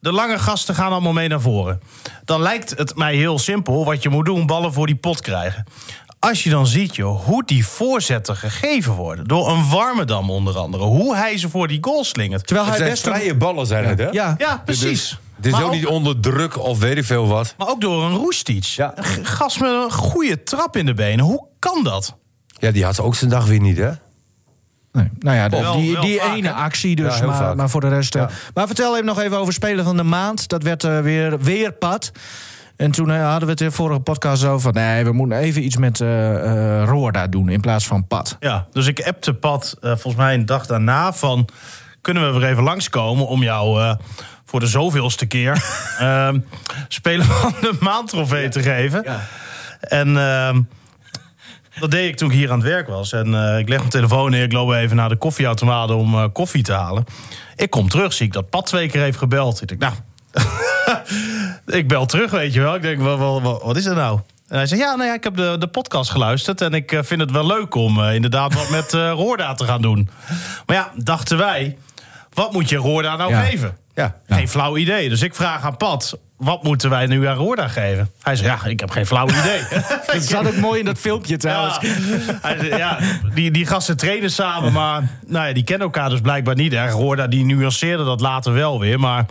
Speaker 4: De lange gasten gaan allemaal mee naar voren. Dan lijkt het mij heel simpel wat je moet doen: ballen voor die pot krijgen. Als je dan ziet joh, hoe die voorzetten gegeven worden. Door een Warmerdam onder andere. Hoe hij ze voor die goal slingert.
Speaker 2: Terwijl
Speaker 3: Het
Speaker 2: hij
Speaker 3: zijn
Speaker 2: best... een-
Speaker 3: vrije ballen, zijn het, hè?
Speaker 2: Ja.
Speaker 4: Ja, precies.
Speaker 3: Dus het is
Speaker 4: Maar
Speaker 3: ook niet onder druk of weet ik veel wat.
Speaker 4: Maar ook door een Roestic. Een g- Gast met een goede trap in de benen. Hoe kan dat?
Speaker 3: Ja, die had ze ook zijn dag weer niet, hè?
Speaker 2: Nee. Nou ja, de-
Speaker 4: Wel-
Speaker 2: die,
Speaker 4: wel
Speaker 2: die
Speaker 4: vaak,
Speaker 2: ene
Speaker 4: hè?
Speaker 2: actie dus,
Speaker 3: Ja, heel
Speaker 2: maar,
Speaker 3: vaak.
Speaker 2: maar voor de rest... eh,
Speaker 3: Ja.
Speaker 2: Maar vertel even nog even over Spelen van de Maand. Dat werd eh, weer, weer pad. En toen eh, hadden we het in de vorige podcast over... van, nee, we moeten even iets met eh eh Roorda doen in plaats van pad.
Speaker 4: Ja, dus ik appte Pat eh, volgens mij een dag daarna van... kunnen we weer even langskomen om jou eh, voor de zoveelste keer... ehm, speler van de maandtrofee te geven. En ehm, dat deed ik toen ik hier aan het werk was. En eh, ik leg mijn telefoon neer, ik loop even naar de koffieautomaat om eh, koffie te halen. Ik kom terug, zie ik dat Pat twee keer heeft gebeld. Ik denk, nou, ik bel terug, weet je wel. Ik denk, wa- wa- wa- wat, is er nou? En hij zei, ja, nou ja, ik heb de, de podcast geluisterd... en ik eh, vind het wel leuk om eh, inderdaad wat met eh Roorda te gaan doen. Maar ja, dachten wij, wat moet je Roorda nou
Speaker 2: Ja.
Speaker 4: geven?
Speaker 3: Ja.
Speaker 4: Geen flauw idee. Dus ik vraag aan Pat, wat moeten wij nu aan Roorda geven? Hij zei, ja, ik heb geen flauw idee.
Speaker 2: Dat zat ook mooi in dat filmpje trouwens.
Speaker 4: Ja, hij zei, ja die, die gasten trainen samen, maar nou ja, die kennen elkaar dus blijkbaar niet. Hè. Roorda die nuanceerde dat later wel weer, maar...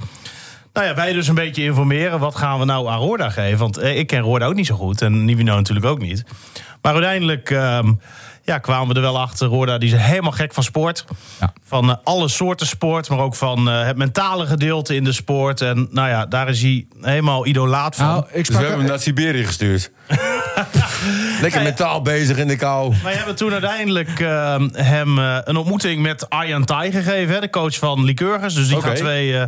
Speaker 4: Nou ja, wij dus een beetje informeren. Wat gaan we nou aan Roorda geven? Want eh, ik ken Roorda ook niet zo goed. En Nivino natuurlijk ook niet. Maar uiteindelijk ehm, ja, kwamen we er wel achter. Roorda die is helemaal gek van sport. Van eh, alle soorten sport. Maar ook van eh, het mentale gedeelte in de sport. En nou ja, daar is hij helemaal idolaat van.
Speaker 2: Nou, ik
Speaker 3: Dus we
Speaker 2: sprak...
Speaker 3: hebben hem naar Siberië gestuurd. Lekker mentaal bezig in de kou.
Speaker 4: Wij hebben toen uiteindelijk ehm, hem eh, een ontmoeting met Arjan Tai gegeven. Hè, de coach van Lycurgus. Dus die,
Speaker 3: Oké.
Speaker 4: gaan twee, eh,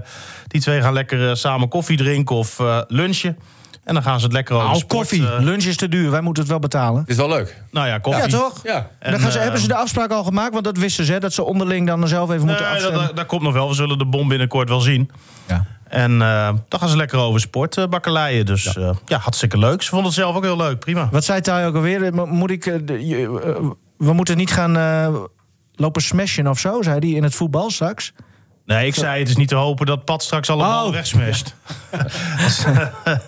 Speaker 4: die twee gaan lekker eh, samen koffie drinken of eh, lunchen. En dan gaan ze het lekker over
Speaker 2: Al
Speaker 4: sport,
Speaker 2: koffie.
Speaker 4: eh,
Speaker 2: Lunch is te duur. Wij moeten het wel betalen.
Speaker 3: Is wel leuk.
Speaker 4: nou ja, koffie.
Speaker 2: Ja, toch?
Speaker 3: Ja.
Speaker 2: En, dan gaan ze,
Speaker 4: eh,
Speaker 2: hebben ze de afspraak al gemaakt? Want dat wisten ze, hè, dat ze onderling dan zelf even moeten
Speaker 4: Nee, dat,
Speaker 2: afstemmen.
Speaker 4: dat- dat komt nog wel. We zullen de bom binnenkort wel zien.
Speaker 2: Ja.
Speaker 4: En eh, dan gaan ze lekker over sport eh, bakkeleien. Dus ja. ja, hartstikke leuk. Ze vonden het zelf ook heel leuk. Prima.
Speaker 2: Wat zei Thij ook alweer? Mo- Moet ik, eh, de- je- eh, we moeten niet gaan eh, lopen smashen of zo, zei hij in het voetbal straks.
Speaker 4: Nee, ik zei het is niet te hopen dat Pat straks allemaal
Speaker 2: Oh.
Speaker 4: wegsmest.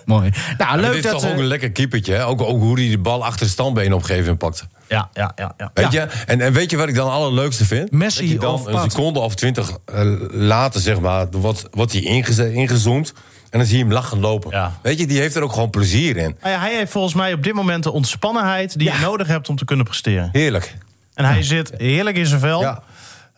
Speaker 2: Mooi. Nou,
Speaker 3: Leuk
Speaker 2: leuk
Speaker 3: dit is
Speaker 2: dat...
Speaker 3: toch
Speaker 2: eh,
Speaker 3: ook een lekker keepertje. Hè? Ook, ook hoe hij de bal achter de standbeen op een gegeven moment pakt.
Speaker 4: Ja, ja, ja. ja.
Speaker 3: Weet je? En, en weet je wat ik dan het allerleukste vind?
Speaker 2: Messi
Speaker 3: dat je dan
Speaker 2: of
Speaker 3: een
Speaker 2: Pat?
Speaker 3: seconde of twintig eh, later, zeg maar, wat, wat hij ingeze- ingezoomd. En dan zie je hem lachen lopen.
Speaker 4: Ja.
Speaker 3: Weet je, die heeft er ook gewoon plezier in.
Speaker 4: Nou ja, hij heeft volgens mij op dit moment de ontspannenheid die je nodig hebt om te kunnen presteren.
Speaker 3: Heerlijk. Nou,
Speaker 4: En hij zit heerlijk in zijn vel.
Speaker 3: Ja.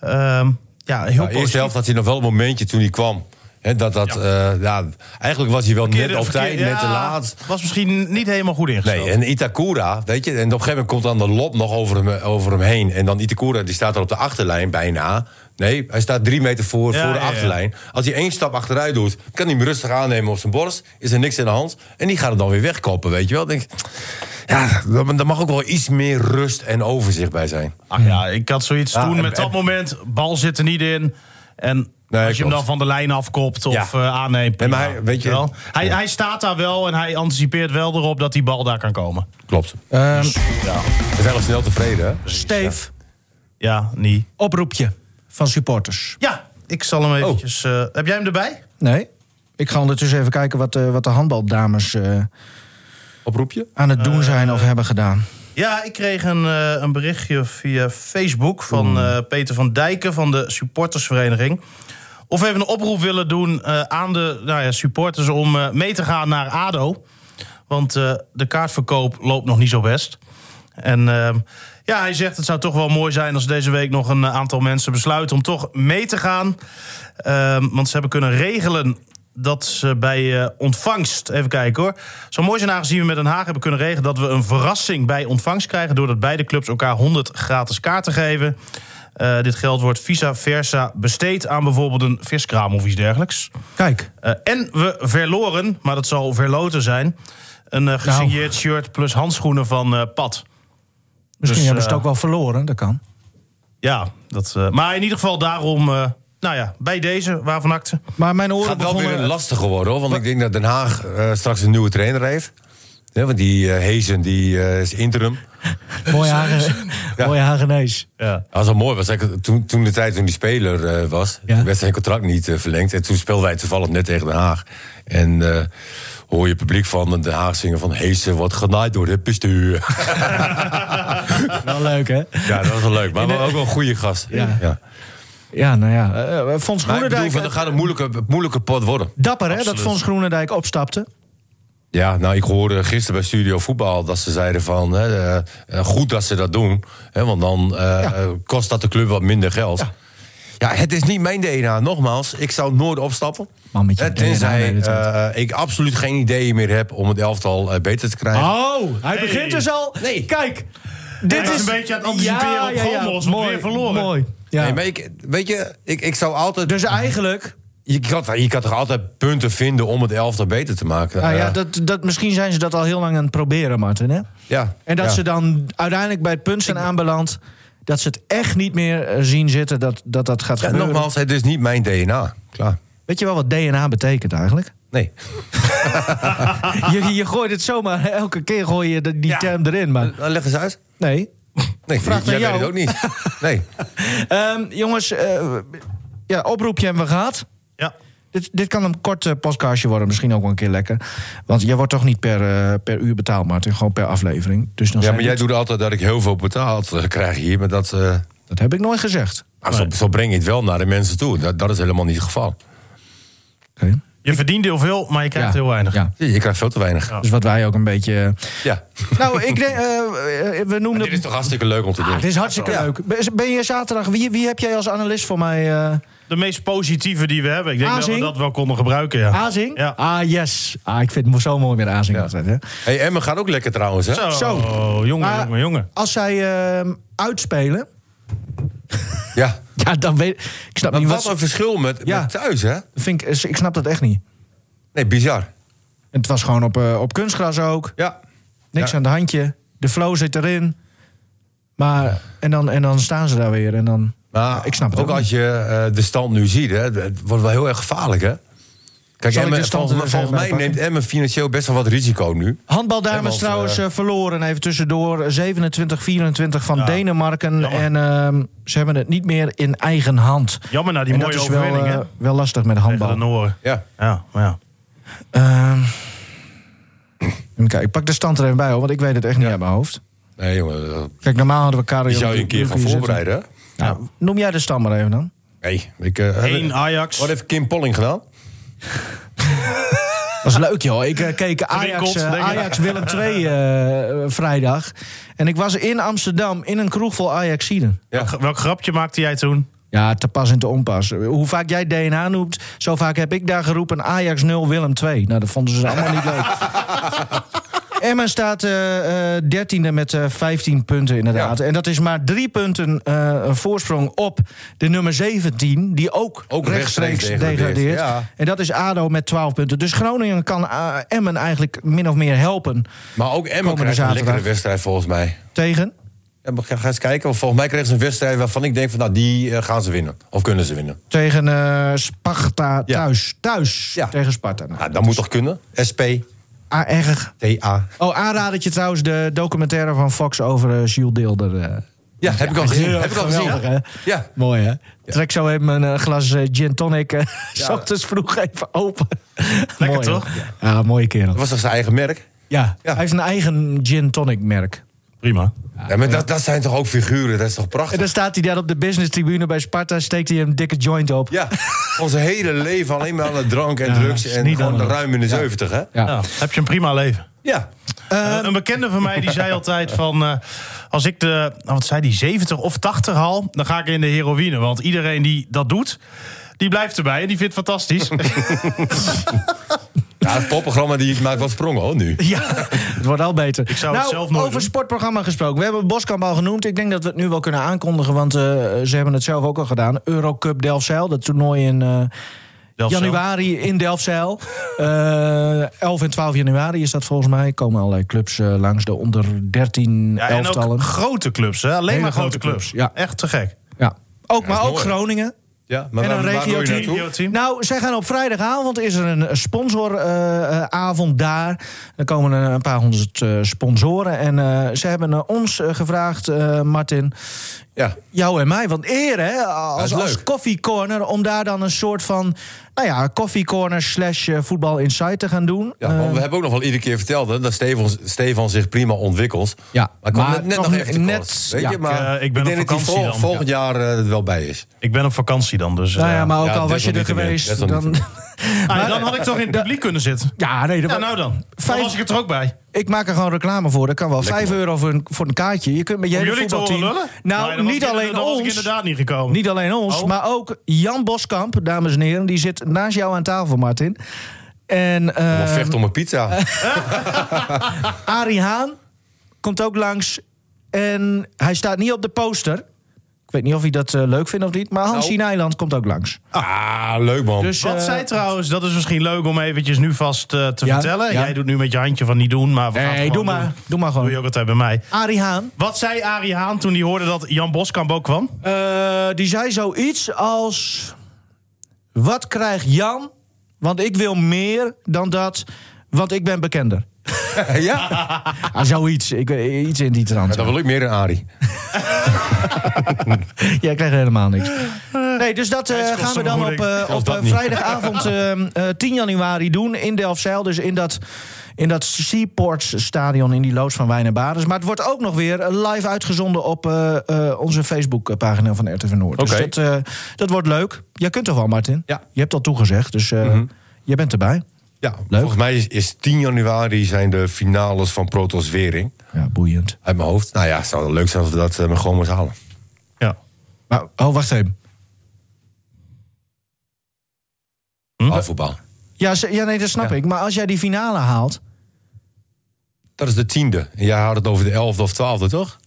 Speaker 3: Nou,
Speaker 4: Ehm, ja, heel
Speaker 3: Ja, eerste
Speaker 4: positief.
Speaker 3: helft had hij nog wel een momentje toen hij kwam. Hè, dat, dat, eh, ja, eigenlijk was hij wel net op tijd,
Speaker 4: Verkeerde-
Speaker 3: net te
Speaker 4: ja,
Speaker 3: laat.
Speaker 4: Was misschien niet helemaal goed ingesteld.
Speaker 3: Nee, en Itakura, weet je, en op een gegeven moment komt dan de lop nog over hem, over hem heen. En dan Itakura, die staat er op de achterlijn bijna. Nee, hij staat drie meter voor,
Speaker 4: Ja,
Speaker 3: voor de
Speaker 4: ja, ja.
Speaker 3: achterlijn. Als hij één stap achteruit doet, kan hij hem rustig aannemen op zijn borst. Is er niks in de hand. En die gaat hem dan weer wegkoppen, weet je wel. Dan Denk, ik, ja, daar mag ook wel iets meer rust en overzicht bij zijn.
Speaker 4: Ach ja, ik had zoiets
Speaker 3: Ja,
Speaker 4: toen
Speaker 3: en-
Speaker 4: met dat
Speaker 3: en-
Speaker 4: moment. Bal zit er niet in. En
Speaker 3: Nee,
Speaker 4: als je hem
Speaker 3: klopt.
Speaker 4: dan van de lijn afkopt of
Speaker 3: Ja.
Speaker 4: eh, aanneemt.
Speaker 3: Nee, maar
Speaker 4: prima,
Speaker 3: hij- weet je-
Speaker 4: wel. Hij, hij staat daar wel en hij anticipeert wel erop dat die bal daar kan komen.
Speaker 3: Klopt.
Speaker 2: ehm,
Speaker 3: We zijn al snel tevreden, hè?
Speaker 2: Steve,
Speaker 4: Ja, niet.
Speaker 2: oproepje van supporters.
Speaker 4: Ja, ik zal
Speaker 3: Oh.
Speaker 4: hem eventjes... eh, heb jij hem erbij?
Speaker 2: Nee? Ik ga ondertussen even kijken wat, eh, wat de handbaldames eh,
Speaker 3: Oproepje?
Speaker 2: aan het
Speaker 3: Eh,
Speaker 2: doen zijn of hebben gedaan.
Speaker 4: Ja, ik kreeg een, eh, een berichtje via Facebook van eh, Peter van Dijken van de supportersvereniging. Of we even een oproep willen doen eh, aan de nou ja, supporters om eh, mee te gaan naar ADO. Want eh, de kaartverkoop loopt nog niet zo best. En ehm, ja, hij zegt het zou toch wel mooi zijn als deze week nog een eh, aantal mensen besluiten om toch mee te gaan. Ehm, want ze hebben kunnen regelen dat ze bij eh, ontvangst, even kijken hoor. Zo mooi zijn aangezien we met Den Haag hebben kunnen regelen dat we een verrassing bij ontvangst krijgen. Doordat beide clubs elkaar 100 gratis kaarten geven. Eh, dit geld wordt vice versa besteed aan bijvoorbeeld een viskraam of iets dergelijks.
Speaker 2: Kijk,
Speaker 4: Eh, en we verloren, maar dat zal verloten zijn. Een eh, gesigneerd shirt plus handschoenen van eh Pat.
Speaker 2: Nou. misschien
Speaker 4: Dus,
Speaker 2: hebben ze het
Speaker 4: eh,
Speaker 2: ook wel verloren, dat kan.
Speaker 4: Ja, dat, eh, maar in ieder geval daarom... eh, nou ja, bij deze, waarvan acte.
Speaker 2: Maar mijn
Speaker 3: Het
Speaker 2: oren
Speaker 3: gaat wel weer
Speaker 2: begonnen...
Speaker 3: lastiger worden, hoor. Want ik denk dat Den Haag eh, straks een nieuwe trainer heeft. Ja, want die eh, Hezen die, eh, is interim.
Speaker 2: Mooi, Hagen,
Speaker 3: Ja.
Speaker 2: mooi Hagenees.
Speaker 4: Ja.
Speaker 3: Dat was wel mooi. Was eigenlijk toen, toen de tijd toen die speler eh, was,
Speaker 2: Ja.
Speaker 3: toen werd zijn contract niet eh, verlengd. En toen speelden wij toevallig net tegen Den Haag. En eh, hoor je het publiek van Den Haag zingen van... Heesen wordt genaaid door het bestuur.
Speaker 2: Wel leuk, hè?
Speaker 3: ja, dat was wel leuk. Maar wel ook wel een goede gast.
Speaker 2: Ja.
Speaker 3: Ja.
Speaker 2: Ja, nou ja. eh, eh, Fons
Speaker 3: Maar ik bedoel,
Speaker 2: Groenendijk...
Speaker 3: van, dat gaat een moeilijke, moeilijke pot worden.
Speaker 2: Dapper, hè, dat
Speaker 4: Absoluut.
Speaker 2: Fons Groenendijk opstapte.
Speaker 3: Ja, nou, ik hoorde gisteren bij Studio Voetbal dat ze zeiden van... Hè, eh, eh, goed dat ze dat doen, hè, want dan eh, eh, kost dat de club wat minder geld. Ja. het is niet mijn DNA. Nogmaals, ik zou nooit opstappen.
Speaker 2: Man, met je
Speaker 3: Hè,
Speaker 2: DNA
Speaker 3: tenzij
Speaker 2: nee, dat
Speaker 3: eh, ik absoluut geen ideeën meer heb om het elftal eh, beter te krijgen.
Speaker 2: Oh, hij
Speaker 4: Hey.
Speaker 2: begint dus al.
Speaker 3: Nee.
Speaker 2: Kijk,
Speaker 4: Hij
Speaker 2: dit
Speaker 4: was
Speaker 2: is...
Speaker 4: een beetje aan het anticiperen op Gommels, want weer verloren.
Speaker 2: Mooi. Ja.
Speaker 3: Nee, maar ik, weet je, ik, ik zou altijd...
Speaker 2: Dus eigenlijk...
Speaker 3: je, kan, je kan toch altijd punten vinden om het elftal beter te maken?
Speaker 2: Nou ja,
Speaker 3: Eh,
Speaker 2: dat, dat, misschien zijn ze dat al heel lang aan het proberen, Martin. Hè?
Speaker 3: ja.
Speaker 2: En dat
Speaker 3: Ja.
Speaker 2: ze dan uiteindelijk bij het punt zijn aanbeland... dat ze het echt niet meer eh, zien zitten dat dat, dat gaat
Speaker 3: Ja,
Speaker 2: gebeuren.
Speaker 3: nogmaals, het is niet mijn DNA. Klaar.
Speaker 2: Weet je wel wat DNA betekent eigenlijk?
Speaker 3: Nee.
Speaker 2: Je, je gooit het zomaar, elke keer gooi je de- die
Speaker 4: Ja.
Speaker 2: term erin. Maar
Speaker 3: Eh, Leg eens uit.
Speaker 2: nee.
Speaker 3: Nee,
Speaker 2: Vraag
Speaker 3: jij
Speaker 2: naar
Speaker 3: weet het ook
Speaker 2: jou.
Speaker 3: niet. Nee.
Speaker 2: Ehm, jongens, eh, ja, oproepje hebben we gehad.
Speaker 4: Ja.
Speaker 2: Dit, dit kan een kort eh, podcastje worden, misschien ook wel een keer lekker. Want jij wordt toch niet per, eh, per uur betaald, Martin, gewoon per aflevering. Dus dan
Speaker 3: Ja,
Speaker 2: zijn
Speaker 3: maar jij
Speaker 2: dit-
Speaker 3: doet altijd dat ik heel veel betaald eh, krijg hier. Maar dat, eh,
Speaker 2: Dat heb ik nooit gezegd.
Speaker 3: ah, zo, zo breng je het wel naar de mensen toe. Dat, dat is helemaal niet het geval.
Speaker 2: Oké.
Speaker 4: Je verdient heel veel, maar je krijgt
Speaker 2: Ja,
Speaker 4: heel weinig.
Speaker 2: Ja.
Speaker 3: Je je krijgt veel te weinig. Ja.
Speaker 2: Dus wat wij ook een beetje... Nou, ik denk, eh, eh, we noemden...
Speaker 3: Dit is toch hartstikke leuk om te doen.
Speaker 2: Het is hartstikke
Speaker 3: Ja.
Speaker 2: leuk. Ben- Ben je zaterdag... Wie, wie heb jij als analist voor mij? eh,
Speaker 4: De meest positieve die we hebben. Ik denk dat we
Speaker 2: Azing?
Speaker 4: dat wel konden gebruiken. Ja.
Speaker 2: Azing?
Speaker 4: Ja.
Speaker 2: Ah, yes. Ah, ik vind het zo mooi met Azing
Speaker 3: Ja.
Speaker 2: altijd, hè.
Speaker 3: Hey, Emmen gaat ook lekker trouwens, hè?
Speaker 4: Zo,
Speaker 2: Ah, Zo.
Speaker 4: Oh,
Speaker 2: Ah.
Speaker 4: jongen,
Speaker 2: Maar-
Speaker 4: jongen, jongen.
Speaker 2: Als zij ehm, uitspelen...
Speaker 3: Ja.
Speaker 2: Ja, dan weet ik... snap
Speaker 3: Maar
Speaker 2: niet
Speaker 3: wat
Speaker 2: wat...
Speaker 3: een verschil met,
Speaker 2: Ja.
Speaker 3: met thuis, hè?
Speaker 2: Vind ik, ik snap dat echt niet.
Speaker 3: Nee, bizar.
Speaker 2: En Het was gewoon op, eh, op kunstgras ook.
Speaker 3: Ja.
Speaker 2: Niks
Speaker 3: Ja.
Speaker 2: aan de handje. De flow zit erin. Maar, en, dan, en dan staan ze daar weer. En dan,
Speaker 3: Maar
Speaker 2: ik snap het ook,
Speaker 3: ook als je eh, de stand nu ziet, hè, het wordt wel heel erg gevaarlijk, hè? Kijk,
Speaker 2: Zal ik
Speaker 3: Emmen,
Speaker 2: de stand
Speaker 3: volgens,
Speaker 2: er eens
Speaker 3: volgens
Speaker 2: even
Speaker 3: mij
Speaker 2: bij
Speaker 3: neemt Emmen financieel best wel wat risico nu.
Speaker 2: Handbaldames
Speaker 3: Helemaal,
Speaker 2: trouwens
Speaker 3: eh,
Speaker 2: eh, verloren. Even tussendoor. 27-24 van Denemarken.
Speaker 4: jammer.
Speaker 2: En ehm, ze hebben het niet meer in eigen hand.
Speaker 4: Jammer na die
Speaker 2: en
Speaker 4: mooie
Speaker 2: dat is wel,
Speaker 4: overwinning,
Speaker 2: eh,
Speaker 4: hè?
Speaker 2: wel lastig met
Speaker 4: Tegen de
Speaker 2: handbal.
Speaker 4: Nooren.
Speaker 3: Ja.
Speaker 4: Ja, maar ja.
Speaker 2: Ehm, even kijken. ik pak de stand er even bij, hoor, want ik weet het echt niet uit mijn hoofd.
Speaker 3: Nee, jongen. dat-
Speaker 2: Kijk, normaal hadden we Karel...
Speaker 3: Die zou je Oh, een keer gaan voorbereiden, hè?
Speaker 2: Nou, noem jij de stand maar even dan.
Speaker 3: Nee. Ik, eh,
Speaker 4: Eén Ajax.
Speaker 3: Wat heeft Kim Polling gedaan?
Speaker 2: Dat was leuk, joh. Ik eh, keek Ajax,
Speaker 4: Drinkelt,
Speaker 2: eh,
Speaker 4: denk ik.
Speaker 2: Ajax Willem II eh, eh, vrijdag. En ik was in Amsterdam in een kroeg vol Ajaxiden.
Speaker 3: Ja.
Speaker 4: Welk- Welk grapje maakte jij toen?
Speaker 2: Ja, te pas en te onpas. Hoe vaak jij DNA noemt, zo vaak heb ik daar geroepen Ajax 0, Willem 2. Nou, dat vonden ze allemaal niet leuk. Emma staat eh eh, 13e met eh 15 punten inderdaad. En dat is maar drie punten eh, een voorsprong op de nummer 17... die ook,
Speaker 3: Ook
Speaker 2: rechtstreeks
Speaker 3: rechtstreeks
Speaker 2: degradeert.
Speaker 3: degradeert, ja.
Speaker 2: En dat is ADO met 12 punten. Dus Groningen kan eh, Emmen eigenlijk min of meer helpen
Speaker 3: Maar ook Emmen
Speaker 2: Komende
Speaker 3: krijgt een
Speaker 2: zaterdag.
Speaker 3: lekkere wedstrijd volgens mij.
Speaker 2: tegen...
Speaker 3: Ja, maar ga, ga eens kijken. want volgens mij krijgen ze een wedstrijd waarvan ik denk van, nou, die eh, gaan ze winnen. Of kunnen ze winnen.
Speaker 2: Tegen eh, Sparta
Speaker 3: Ja.
Speaker 2: thuis. Thuis
Speaker 3: Ja.
Speaker 2: tegen Sparta. Nou,
Speaker 3: Ja, dat moet toch kunnen? SP,
Speaker 2: ah, erg.
Speaker 3: TA.
Speaker 2: Oh, aanradertje trouwens, de documentaire van Fox over eh, Jules Deelder. eh.
Speaker 3: Ja, heb ik al gezien. Heb ik al gezien.
Speaker 2: Geweldig, hè?
Speaker 3: Ja.
Speaker 2: Mooi, hè? Trek zo even een eh, glas eh, gin tonic. eh, s
Speaker 3: Ja.
Speaker 2: ochtends vroeg even open.
Speaker 4: Lekker,
Speaker 2: Mooi,
Speaker 4: toch?
Speaker 2: hoor. Ja, mooie kerel.
Speaker 3: Dat was toch zijn eigen merk?
Speaker 2: Ja.
Speaker 3: Ja.
Speaker 2: hij heeft een eigen gin tonic merk.
Speaker 4: Prima.
Speaker 3: Ja, maar Dat, dat zijn toch ook figuren? Dat is toch
Speaker 2: En
Speaker 3: prachtig?
Speaker 2: dan staat hij daar op de business tribune bij Sparta, steekt hij een dikke joint op.
Speaker 3: Ja, ons hele leven alleen maar aan de drank en
Speaker 2: Ja,
Speaker 3: drugs.
Speaker 2: is
Speaker 3: En
Speaker 2: niet
Speaker 3: gewoon
Speaker 2: anders.
Speaker 3: ruim in de 70, hè?
Speaker 2: Ja.
Speaker 4: Ja, heb je een prima leven.
Speaker 3: Ja.
Speaker 2: Ehm.
Speaker 4: Eh, een bekende van mij die zei altijd van... eh, als ik de, nou, wat zei die, 70 of 80 haal... dan ga ik in de heroïne. Want iedereen die dat doet, die blijft erbij. En die vindt het fantastisch.
Speaker 3: Ja, het popprogramma die maakt wel sprongen, hoor, nu.
Speaker 2: Ja, het wordt al beter. Ik
Speaker 4: zou het
Speaker 2: nou,
Speaker 4: zelf nooit
Speaker 2: over
Speaker 4: doen.
Speaker 2: sportprogramma gesproken. We hebben Boskamp al genoemd. Ik denk dat we het nu wel kunnen aankondigen, want eh, ze hebben het zelf ook al gedaan. Eurocup Delfzijl, dat toernooi in eh,
Speaker 4: Delfzijl.
Speaker 2: januari in Delfzijl. Eh 11 en 12 januari is dat volgens mij. Komen allerlei clubs eh, langs, de onder 13
Speaker 4: Ja, en
Speaker 2: elftallen.
Speaker 4: ook grote clubs, hè? alleen
Speaker 2: Hele
Speaker 4: maar grote,
Speaker 2: grote
Speaker 4: clubs.
Speaker 2: clubs, ja.
Speaker 4: Echt te gek.
Speaker 2: Ook,
Speaker 3: Ja,
Speaker 2: maar
Speaker 3: is
Speaker 2: ook
Speaker 3: mooi.
Speaker 2: Groningen.
Speaker 3: Ja, maar
Speaker 2: En
Speaker 3: waar,
Speaker 2: een
Speaker 3: waar wil je
Speaker 2: regio-team.
Speaker 3: naartoe?
Speaker 4: Team.
Speaker 2: Nou, zij gaan op vrijdagavond is er een sponsoravond daar. Dan komen er een paar honderd eh, sponsoren. En eh, ze hebben eh, ons eh, gevraagd, eh, Martin,
Speaker 3: Ja,
Speaker 2: jou en mij. Want eer, hè,
Speaker 3: Dat
Speaker 2: als,
Speaker 3: is leuk.
Speaker 2: als koffiecorner, om daar dan een soort van... Nou ja, koffiecorner slash eh, voetbal insight te gaan doen.
Speaker 3: ja want
Speaker 2: Eh,
Speaker 3: we hebben ook nog wel iedere keer verteld hè, dat Stefan, Stefan zich prima ontwikkelt.
Speaker 2: Ja,
Speaker 3: maar ik kwam
Speaker 2: maar
Speaker 3: net, net
Speaker 2: nog
Speaker 3: nog even te
Speaker 2: net-
Speaker 3: kort, weet
Speaker 2: ja.
Speaker 3: je, maar
Speaker 4: Ik, eh, ik ben op
Speaker 3: denk dat hij
Speaker 4: vakantie
Speaker 3: vol-
Speaker 4: dan,
Speaker 3: volgend jaar eh, er wel bij is.
Speaker 4: Ik ben op vakantie dan, dus...
Speaker 2: nou
Speaker 4: eh,
Speaker 2: ja, maar ook
Speaker 3: ja,
Speaker 2: al
Speaker 3: dat
Speaker 2: was je
Speaker 3: is
Speaker 2: er
Speaker 3: nog niet
Speaker 2: geweest,
Speaker 3: meer. Dat is nog
Speaker 2: dan...
Speaker 4: ah, dan had ik toch in het publiek kunnen zitten.
Speaker 2: Ja, nee, dat
Speaker 4: Ja,
Speaker 2: wa-
Speaker 4: nou dan. Dan
Speaker 2: Vijf-
Speaker 4: was ik het er ook bij.
Speaker 2: Ik maak er gewoon reclame voor. Dat kan wel.
Speaker 3: Lekker,
Speaker 2: 5
Speaker 3: man.
Speaker 2: euro voor een, voor een kaartje. Je kunt met je
Speaker 4: Om
Speaker 2: hele
Speaker 4: jullie te horen
Speaker 2: voetbalteam...
Speaker 4: lullen? Nee,
Speaker 2: Nou,
Speaker 4: dan was
Speaker 2: niet
Speaker 4: ik
Speaker 2: alleen
Speaker 4: inderdaad- dan was ik
Speaker 2: ons.
Speaker 4: inderdaad niet gekomen.
Speaker 2: Niet alleen ons,
Speaker 4: Oh.
Speaker 2: maar ook Jan Boskamp, dames en heren. Die zit naast jou aan tafel, Martin. En
Speaker 3: Of
Speaker 2: eh
Speaker 3: vecht om een pizza.
Speaker 2: Arie Haan komt ook langs. En hij staat niet op de poster. Ik weet niet of hij dat eh, leuk vindt of niet. Maar Hansi
Speaker 3: Nou.
Speaker 2: Nijland komt ook langs.
Speaker 3: Ah, leuk man.
Speaker 2: Dus,
Speaker 4: Wat
Speaker 2: eh,
Speaker 4: zij trouwens, dat is misschien leuk om eventjes nu vast eh, te
Speaker 2: Ja,
Speaker 4: vertellen.
Speaker 2: ja.
Speaker 4: Jij doet nu met je handje van niet doen, maar we gaan het
Speaker 2: Nee, doe
Speaker 4: gewoon
Speaker 2: maar.
Speaker 4: doen.
Speaker 2: Doe maar
Speaker 4: Doe je
Speaker 2: gewoon.
Speaker 4: ook altijd bij mij.
Speaker 2: Arie Haan.
Speaker 4: Wat zei Arie Haan toen hij hoorde dat Jan Boskamp ook kwam?
Speaker 2: Eh, die zei zoiets als: Wat krijgt Jan? Want ik wil meer dan dat, want ik ben bekender.
Speaker 3: ja,
Speaker 2: Ah, zoiets. Ik, eh, iets in die trant.
Speaker 3: dat wil ik meer dan Arie.
Speaker 2: Jij krijgt helemaal niks. Nee, dus dat eh,
Speaker 4: het kost
Speaker 2: gaan we
Speaker 4: een
Speaker 2: dan op,
Speaker 4: vergoeding.
Speaker 2: eh,
Speaker 3: Kost
Speaker 2: op
Speaker 3: dat
Speaker 2: eh,
Speaker 3: niet.
Speaker 2: vrijdagavond ehm, eh, 10 januari doen in Delfzijl. Dus in dat, in dat Seaports stadion in die loods van Wijn en Baders. Maar het wordt ook nog weer eh, live uitgezonden op eh, eh, onze Facebookpagina van RTV Noord. Dus
Speaker 3: Oké.
Speaker 2: dat, eh, dat wordt leuk. Jij kunt toch wel, Martin?
Speaker 3: Ja. Mhm.
Speaker 2: Je hebt al toegezegd, dus eh je bent erbij.
Speaker 3: Ja, volgens mij is, is 10 januari zijn de finales van Protos Wering.
Speaker 2: Ja, boeiend.
Speaker 3: Uit mijn hoofd. Nou ja, het zou leuk zijn als we dat eh, maar gewoon moeten halen.
Speaker 4: Ja.
Speaker 2: Maar, oh, wacht even.
Speaker 3: Halfvoetbal.
Speaker 2: Ja, ze- ja nee, dat snap ik. Maar als jij die finale haalt...
Speaker 3: Dat is de tiende. En jij had het over de elfde of twaalfde, toch?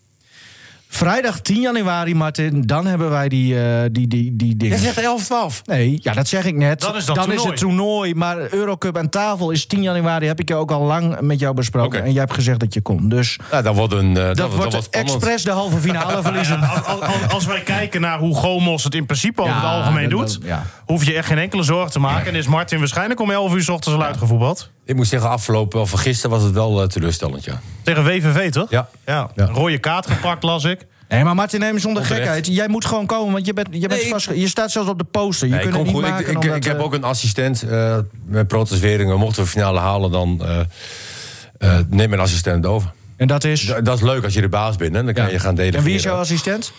Speaker 2: Vrijdag 10 januari, Martin, dan hebben wij die, eh, die, die, die dingen.
Speaker 3: Jij zegt 11 of 12.
Speaker 2: Nee, ja, dat zeg ik net.
Speaker 4: Dan is dat toernooi.
Speaker 2: het toernooi. Maar Eurocup aan tafel is 10 januari. Heb ik je ook al lang met jou besproken.
Speaker 3: Oké.
Speaker 2: En jij hebt gezegd dat je komt. Dus
Speaker 3: Nou, dat wordt een. eh, dat,
Speaker 2: dat,
Speaker 3: dat
Speaker 2: wordt
Speaker 3: wordt spannend.
Speaker 2: expres de halve finale verliezen.
Speaker 4: Al- al- al- Als wij kijken naar hoe Gomos het in principe over
Speaker 2: Ja,
Speaker 4: het algemeen
Speaker 2: dat-
Speaker 4: doet,
Speaker 2: dat- ja.
Speaker 4: hoef je echt geen enkele zorg te maken. En is Martin waarschijnlijk om 11 uur 's ochtends al uitgevoetbald.
Speaker 3: Ik moet zeggen, afgelopen of gisteren was het wel eh, teleurstellend, ja.
Speaker 4: Tegen WVV, toch?
Speaker 3: Ja.
Speaker 4: ja. Een Rode kaart gepakt, las ik.
Speaker 2: Nee, maar Martin, neem zonder
Speaker 3: Onterecht.
Speaker 2: gekheid. Jij moet gewoon komen, want je, bent, je, bent
Speaker 3: Nee,
Speaker 2: vast, je staat zelfs op de poster. Je
Speaker 3: Nee, ik,
Speaker 2: kunt het
Speaker 3: kom
Speaker 2: niet
Speaker 3: goed. Ik,
Speaker 2: maken
Speaker 3: ik,
Speaker 2: omdat,
Speaker 3: ik heb
Speaker 2: eh,
Speaker 3: ook een assistent eh, met Protos Weringen. Mochten we finale halen, dan eh, eh, neem een assistent over.
Speaker 2: En dat is...
Speaker 3: D- dat is leuk als je de baas bent, hè. dan kan je gaan delegeren.
Speaker 2: en wie is jouw assistent?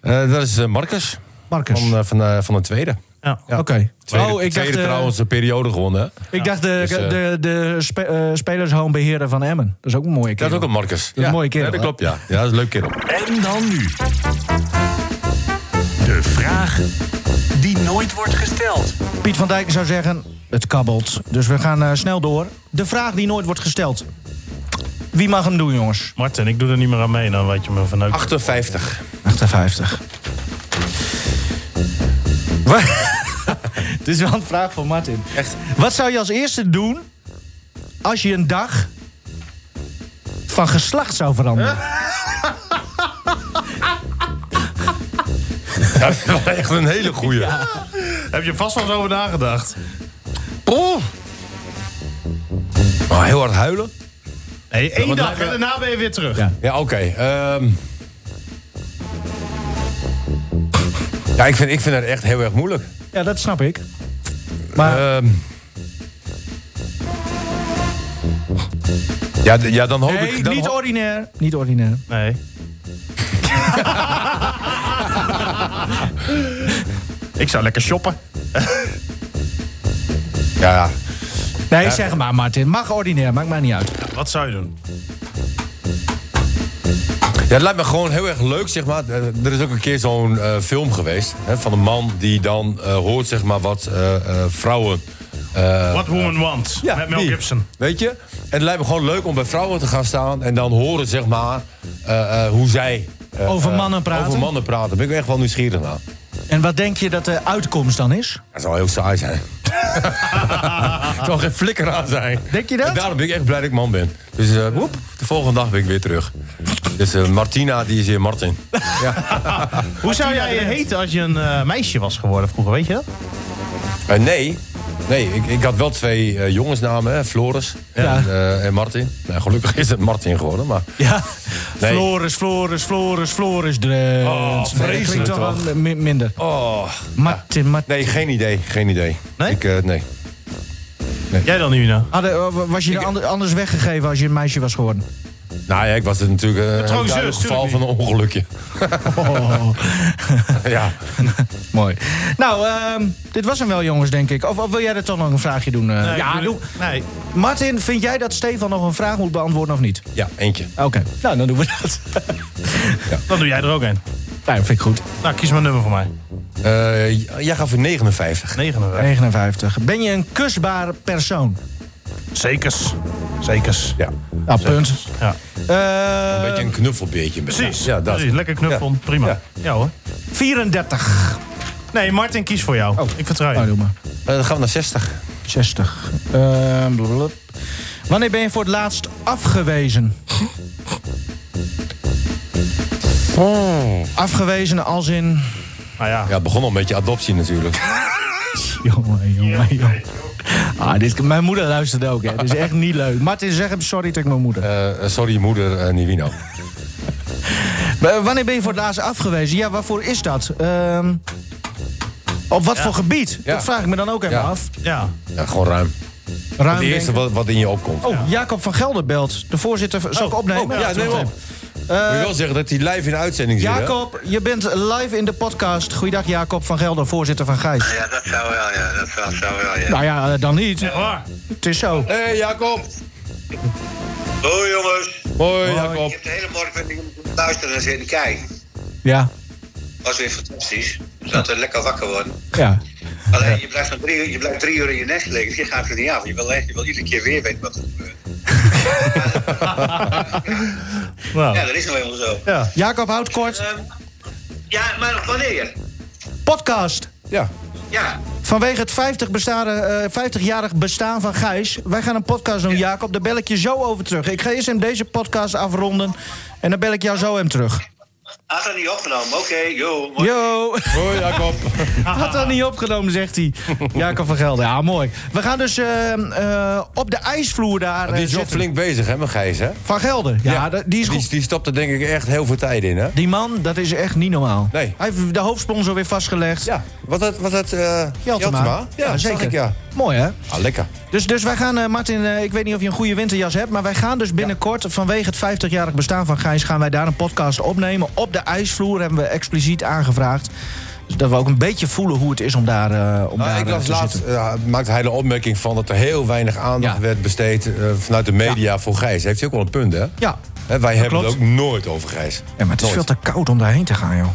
Speaker 3: Eh, dat is eh, Marcus.
Speaker 2: Marcus.
Speaker 3: Van, eh, van, eh, van de tweede.
Speaker 4: Ja.
Speaker 2: Oké.
Speaker 3: Tweede,
Speaker 2: Oh, ik
Speaker 3: tweede
Speaker 2: dacht, eh,
Speaker 3: trouwens een periode gewonnen. hè.
Speaker 2: ik dacht de,
Speaker 3: Dus, eh,
Speaker 2: de, de spe, eh, spelershomebeheerder van Emmen. Dat is ook een mooie
Speaker 3: Dat
Speaker 2: kerel.
Speaker 3: is ook een Marcus. Dat
Speaker 2: een mooie kerel,
Speaker 3: Ja, dat
Speaker 2: hè?
Speaker 3: klopt, ja. Ja, dat is een leuk kerel.
Speaker 1: En dan nu. De vraag die nooit wordt gesteld.
Speaker 2: Piet van Dijk zou zeggen, het kabbelt. Dus we gaan eh, snel door. De vraag die nooit wordt gesteld. Wie mag hem doen, jongens?
Speaker 4: Martin, ik doe er niet meer aan mee, dan weet je me vanuit.
Speaker 3: 58.
Speaker 2: 58. Het is wel een vraag van Martin.
Speaker 3: Echt?
Speaker 2: Wat zou je als eerste doen als je een dag van geslacht zou veranderen?
Speaker 3: Dat is wel echt een hele goeie.
Speaker 4: Heb je vast wel eens over nagedacht?
Speaker 3: Oh. Maar heel hard huilen?
Speaker 4: Nee, één
Speaker 3: want
Speaker 4: dag
Speaker 3: laten
Speaker 4: en
Speaker 3: we-
Speaker 4: daarna ben je weer terug.
Speaker 2: Ja.
Speaker 3: Ja, oké. ehm. Ja, ik vind, ik vind dat echt heel erg moeilijk.
Speaker 2: Ja, dat snap ik. Maar
Speaker 3: Ehm. ja, d- ja, dan hoop
Speaker 2: nee,
Speaker 3: ik... Dan
Speaker 2: niet
Speaker 3: ho-
Speaker 2: ordinair. Niet ordinair.
Speaker 4: Nee. ik zou lekker shoppen.
Speaker 3: ja, ja.
Speaker 2: Nee, zeg maar, Martin. Mag ordinair, maakt mij niet uit.
Speaker 4: Wat zou je doen?
Speaker 3: Ja, het lijkt me gewoon heel erg leuk, zeg maar. Eh, Er is ook een keer zo'n eh, film geweest... Hè, van een man die dan eh, hoort, zeg maar, wat eh, eh, vrouwen... eh,
Speaker 4: What Woman Wants, met Mel
Speaker 3: die.
Speaker 4: Gibson.
Speaker 3: Weet je? En het lijkt me gewoon leuk om bij vrouwen te gaan staan... en dan horen, zeg maar, eh, eh, hoe zij... eh,
Speaker 2: Over
Speaker 3: eh,
Speaker 2: mannen praten?
Speaker 3: Over mannen praten. Daar ben ik echt wel nieuwsgierig naar.
Speaker 2: En wat denk je dat de uitkomst dan is?
Speaker 3: Dat zou heel saai zijn. Het zal geen flikker aan zijn.
Speaker 2: Denk je dat?
Speaker 3: En daarom ben ik echt blij dat ik man ben. Dus eh, woep, de volgende dag ben ik weer terug. Dus eh, Martina, die is hier Martin.
Speaker 4: Hoe zou jij je heten als je een eh, meisje was geworden vroeger, weet je dat?
Speaker 3: Eh, nee, nee ik, ik had wel twee eh, jongensnamen, hè, Floris en,
Speaker 2: Ja.
Speaker 3: eh, en Martin. Nou, gelukkig is het Martin geworden, maar...
Speaker 2: Ja.
Speaker 3: Nee.
Speaker 2: Floris, Floris, Floris, Floris, Drent.
Speaker 3: Oh,
Speaker 2: Nee,
Speaker 3: vreselijk
Speaker 2: klinkt toch
Speaker 3: toch?
Speaker 2: wel mi- minder.
Speaker 3: Oh,
Speaker 2: Martin, Martin.
Speaker 3: nee, geen idee, geen idee.
Speaker 4: Nee?
Speaker 3: Ik, eh, nee.
Speaker 4: Jij dan, Nina?
Speaker 2: Hadden- eh, was je ander- anders weggegeven als je een meisje was geworden?
Speaker 3: Nou ja, ik was het natuurlijk eh, een
Speaker 4: Trouwens,
Speaker 3: duidelijk geval
Speaker 4: tuurlijk niet.
Speaker 3: van een ongelukje.
Speaker 2: Oh.
Speaker 3: ja.
Speaker 2: Mooi. Nou, ehm, dit was hem wel, jongens, denk ik. Of, of wil jij er toch nog een vraagje doen? eh? ja, doe.
Speaker 4: Nee.
Speaker 2: Martin, vind jij dat Stefan nog een vraag moet beantwoorden of niet?
Speaker 3: ja, eentje.
Speaker 2: Oké, nou, dan doen we dat.
Speaker 4: Dan doe jij er ook een.
Speaker 2: nou, vind ik goed.
Speaker 4: Nou, kies maar een nummer voor mij.
Speaker 3: Eh, j- jij gaat voor 59.
Speaker 4: 59.
Speaker 2: 59. Ben je een kusbare persoon?
Speaker 4: Zekers. Zekers.
Speaker 3: Ja.
Speaker 2: Nou, punt.
Speaker 4: Ja.
Speaker 2: Eh,
Speaker 3: Een beetje een knuffelbeertje. bent.
Speaker 4: Precies.
Speaker 3: Ja, dat.
Speaker 4: Precies. Lekker knuffel.
Speaker 3: Ja.
Speaker 4: Prima. Ja.
Speaker 3: Ja.
Speaker 4: hoor.
Speaker 2: 34.
Speaker 4: Nee, Martin, kies voor jou.
Speaker 2: Oh.
Speaker 4: Ik vertrouw je.
Speaker 2: Nou, doe maar.
Speaker 3: Eh, dan gaan we naar 60.
Speaker 2: 60. Ehm, blablabla. Wanneer ben je voor het laatst afgewezen? Oh. Afgewezen als in...
Speaker 4: Nou ja.
Speaker 3: Ja, het begon al met je adoptie natuurlijk.
Speaker 2: Jongen, jongen, jongen. Ah, dit, mijn moeder luistert ook, hè. Het is echt niet leuk. Martin, zeg hem sorry tegen mijn moeder.
Speaker 3: Eh, eh, sorry, moeder eh, Nivino.
Speaker 2: Eh, Wanneer ben je voor het laatst afgewezen? Ja, waarvoor is dat? Ehm, op wat voor gebied?
Speaker 3: Ja.
Speaker 2: Dat vraag ik me dan ook even
Speaker 3: Ja.
Speaker 2: af.
Speaker 4: Ja.
Speaker 3: Ja, gewoon ruim.
Speaker 2: Ruim
Speaker 3: Het eerste
Speaker 2: denken.
Speaker 3: wat, wat in je opkomt.
Speaker 2: Oh, Jacob van Gelder belt. De voorzitter... van- Zal ik opnemen?
Speaker 3: oh, ja,
Speaker 2: dat
Speaker 3: neem
Speaker 2: mag
Speaker 3: op.
Speaker 2: even.
Speaker 3: Moet je wel zeggen dat hij live in de uitzending zit. hè?
Speaker 2: Jacob, je bent live in de podcast. Goeiedag Jacob van Gelder, voorzitter van Gijs.
Speaker 6: Ja, dat zou wel, ja. Dat zou, zou wel, ja.
Speaker 2: Nou ja, eh, dan niet.
Speaker 4: Echt waar.
Speaker 2: Het is zo.
Speaker 3: Hé hey, Jacob.
Speaker 6: Hoi jongens.
Speaker 3: Hoi
Speaker 6: Je
Speaker 3: Jacob.
Speaker 6: hebt de hele morgen moeten luisteren en zitten kijken.
Speaker 2: Ja,
Speaker 6: was weer fantastisch. Dus dat we lekker wakker worden.
Speaker 2: ja.
Speaker 6: Alleen, je blijft, nog drie, uur- je blijft drie uur in je nest liggen. Dus je gaat er niet af. Je wil, echt- je wil iedere keer weer weten wat er gebeurt.
Speaker 4: Nou.
Speaker 6: Ja, dat is nou helemaal zo.
Speaker 4: Ja.
Speaker 2: Jacob, houd kort.
Speaker 6: Ehm, ja, maar wanneer?
Speaker 2: Podcast.
Speaker 3: Ja.
Speaker 6: Ja.
Speaker 2: Vanwege het 50 bestaan, eh, 50-jarig bestaan van Gijs. Wij gaan een podcast doen, Jacob. Daar bel ik je zo over terug. Ik ga eerst hem deze podcast afronden. En dan bel ik jou zo hem terug.
Speaker 6: Had Ah, dat niet opgenomen? Oké, joh.
Speaker 2: Yo,
Speaker 3: Hoi Jacob.
Speaker 2: had dat niet opgenomen, zegt hij. Jacob van Gelder, ja, mooi. We gaan dus eh, eh, op de ijsvloer daar eh,
Speaker 3: Die is wel
Speaker 2: zitten.
Speaker 3: flink bezig hè, met Gijs hè?
Speaker 2: Van Gelder, ja, dat- die is goed.
Speaker 3: Die, die stopt er denk ik echt heel veel tijd in hè?
Speaker 2: Die man, dat is echt niet normaal.
Speaker 3: Nee.
Speaker 2: Hij heeft de hoofdsponsor weer vastgelegd.
Speaker 3: Ja. Wat dat? Wat dat eh,
Speaker 2: Jeltema.
Speaker 3: Jeltema? Ja,
Speaker 2: Ja,
Speaker 3: zeker.
Speaker 2: zeker.
Speaker 3: ja.
Speaker 2: Mooi, hè?
Speaker 3: Ah, lekker.
Speaker 2: Dus, dus wij gaan, eh, Martin, eh, ik weet niet of je een goede winterjas hebt... maar wij gaan dus binnenkort, vanwege het 50-jarig bestaan van Gijs... gaan wij daar een podcast opnemen. Op de ijsvloer hebben we expliciet aangevraagd. Zodat we ook een beetje voelen hoe het is om daar, eh om
Speaker 3: Nou,
Speaker 2: daar
Speaker 3: ik
Speaker 2: eh,
Speaker 3: las
Speaker 2: te
Speaker 3: laatst,
Speaker 2: zitten.
Speaker 3: ja, maakte hij de opmerking van dat er heel weinig aandacht
Speaker 2: Ja.
Speaker 3: werd besteed eh, vanuit de media voor Gijs. Heeft hij ook wel een punt, hè?
Speaker 2: Ja.
Speaker 3: Hè, wij hebben
Speaker 2: klopt.
Speaker 3: het ook nooit over Gijs.
Speaker 2: ja, maar het is
Speaker 3: Nooit.
Speaker 2: veel te koud om daarheen te gaan, joh.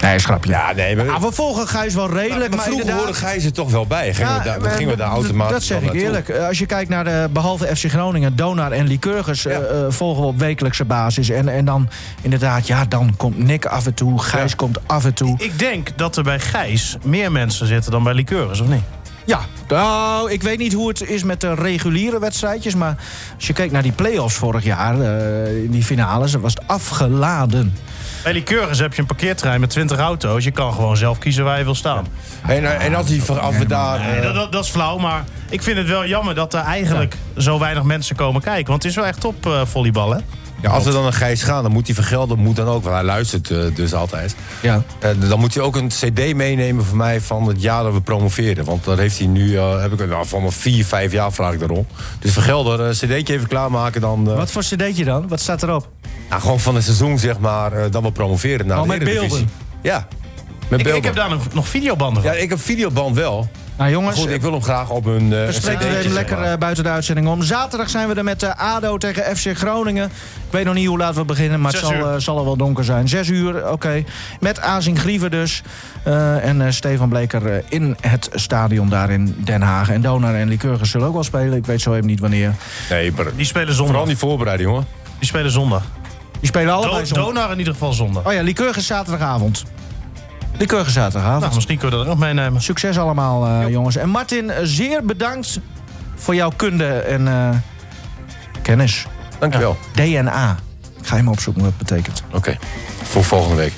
Speaker 2: Nee, schrapje. Ja,
Speaker 3: Ja, nee, maar,
Speaker 2: we volgen Gijs wel redelijk, maar,
Speaker 3: maar vroeger
Speaker 2: inderdaad...
Speaker 3: hoorde Gijs er toch wel bij. Gingen we daar,
Speaker 2: eh,
Speaker 3: gingen we daar
Speaker 2: d-
Speaker 3: automatisch
Speaker 2: Dat zeg
Speaker 3: wel
Speaker 2: ik
Speaker 3: naartoe.
Speaker 2: eerlijk. Eh, Als je kijkt naar de, behalve FC Groningen, Donar en Lycurgus eh,
Speaker 3: Ja.
Speaker 2: eh, volgen we op wekelijkse basis. En, en dan inderdaad, ja, dan komt Nick af en toe, Gijs
Speaker 3: Ja.
Speaker 2: komt af en toe.
Speaker 4: Ik denk dat er bij Gijs meer mensen zitten dan bij Liqueurs, of niet?
Speaker 2: Ja, nou, ik weet niet hoe het is met de reguliere wedstrijdjes, maar als je kijkt naar die play-offs vorig jaar, eh, in die finales, dan was het afgeladen.
Speaker 4: Bij Liqueurs heb je een parkeerterrein met 20 auto's. Je kan gewoon zelf kiezen waar je wil staan.
Speaker 3: En, eh, en als hij vanaf we daar... eh,
Speaker 4: Nee, dat, dat, dat is flauw, maar ik vind het wel jammer dat er eigenlijk zo weinig mensen komen kijken. Want het is wel echt top eh volleybal, hè?
Speaker 3: ja, als we dan naar Gijs gaan, dan moet hij vergelden. Moet dan ook, want hij luistert eh, dus altijd.
Speaker 2: Ja.
Speaker 3: Eh, dan moet hij ook een cd meenemen van mij van het jaar dat we promoveerden. Want dat heeft hij nu, eh, heb ik nou, van mijn vier, vijf jaar vraag ik daarom. Dus vergelden, een cd'tje even klaarmaken dan... eh,
Speaker 2: Wat voor cd'tje dan? Wat staat erop?
Speaker 3: Nou, gewoon van het seizoen, zeg maar, eh, dan wel promoveren naar
Speaker 2: Oh,
Speaker 3: de
Speaker 2: met
Speaker 3: Eredivisie.
Speaker 2: beelden.
Speaker 3: Ja, met
Speaker 4: Ik,
Speaker 3: beelden.
Speaker 4: ik heb daar nog, nog videobanden van.
Speaker 3: Ja, ik heb videoband wel.
Speaker 2: Nou
Speaker 3: Maar
Speaker 2: jongens,
Speaker 3: goed, ik wil hem graag op een eh,
Speaker 2: We spreken
Speaker 3: cd'tje,
Speaker 2: er even
Speaker 3: zeg
Speaker 2: lekker
Speaker 3: maar.
Speaker 2: eh, buiten de uitzending om. Zaterdag zijn we er met eh, ADO tegen FC Groningen. Ik weet nog niet hoe laat we beginnen, maar het
Speaker 4: Zes
Speaker 2: zal,
Speaker 4: uur.
Speaker 2: eh, zal al wel donker zijn. Zes uur, oké. Met Azing Grieven dus. Eh, en eh, Stefan Bleker eh, in het stadion daar in Den Haag. En Donar en Lycurgus zullen ook wel spelen. Ik weet zo even niet wanneer.
Speaker 3: Nee, maar
Speaker 4: Die spelen
Speaker 3: vooral
Speaker 4: zondag.
Speaker 3: die voorbereiding, hoor.
Speaker 4: Die spelen zondag.
Speaker 2: Die spelen allebei
Speaker 4: Do
Speaker 2: zondag.
Speaker 4: Donar in ieder geval zondag.
Speaker 2: Oh ja, Lycurgus zaterdagavond. Liqueurige zaterdagavond.
Speaker 4: Nou, misschien kunnen we dat ook meenemen.
Speaker 2: Succes allemaal, eh, jongens. En Martin, eh, zeer bedankt voor jouw kunde en eh, kennis.
Speaker 3: Dankjewel.
Speaker 2: DNA. Ik ga hem opzoeken wat dat betekent.
Speaker 3: Oké. Voor volgende week.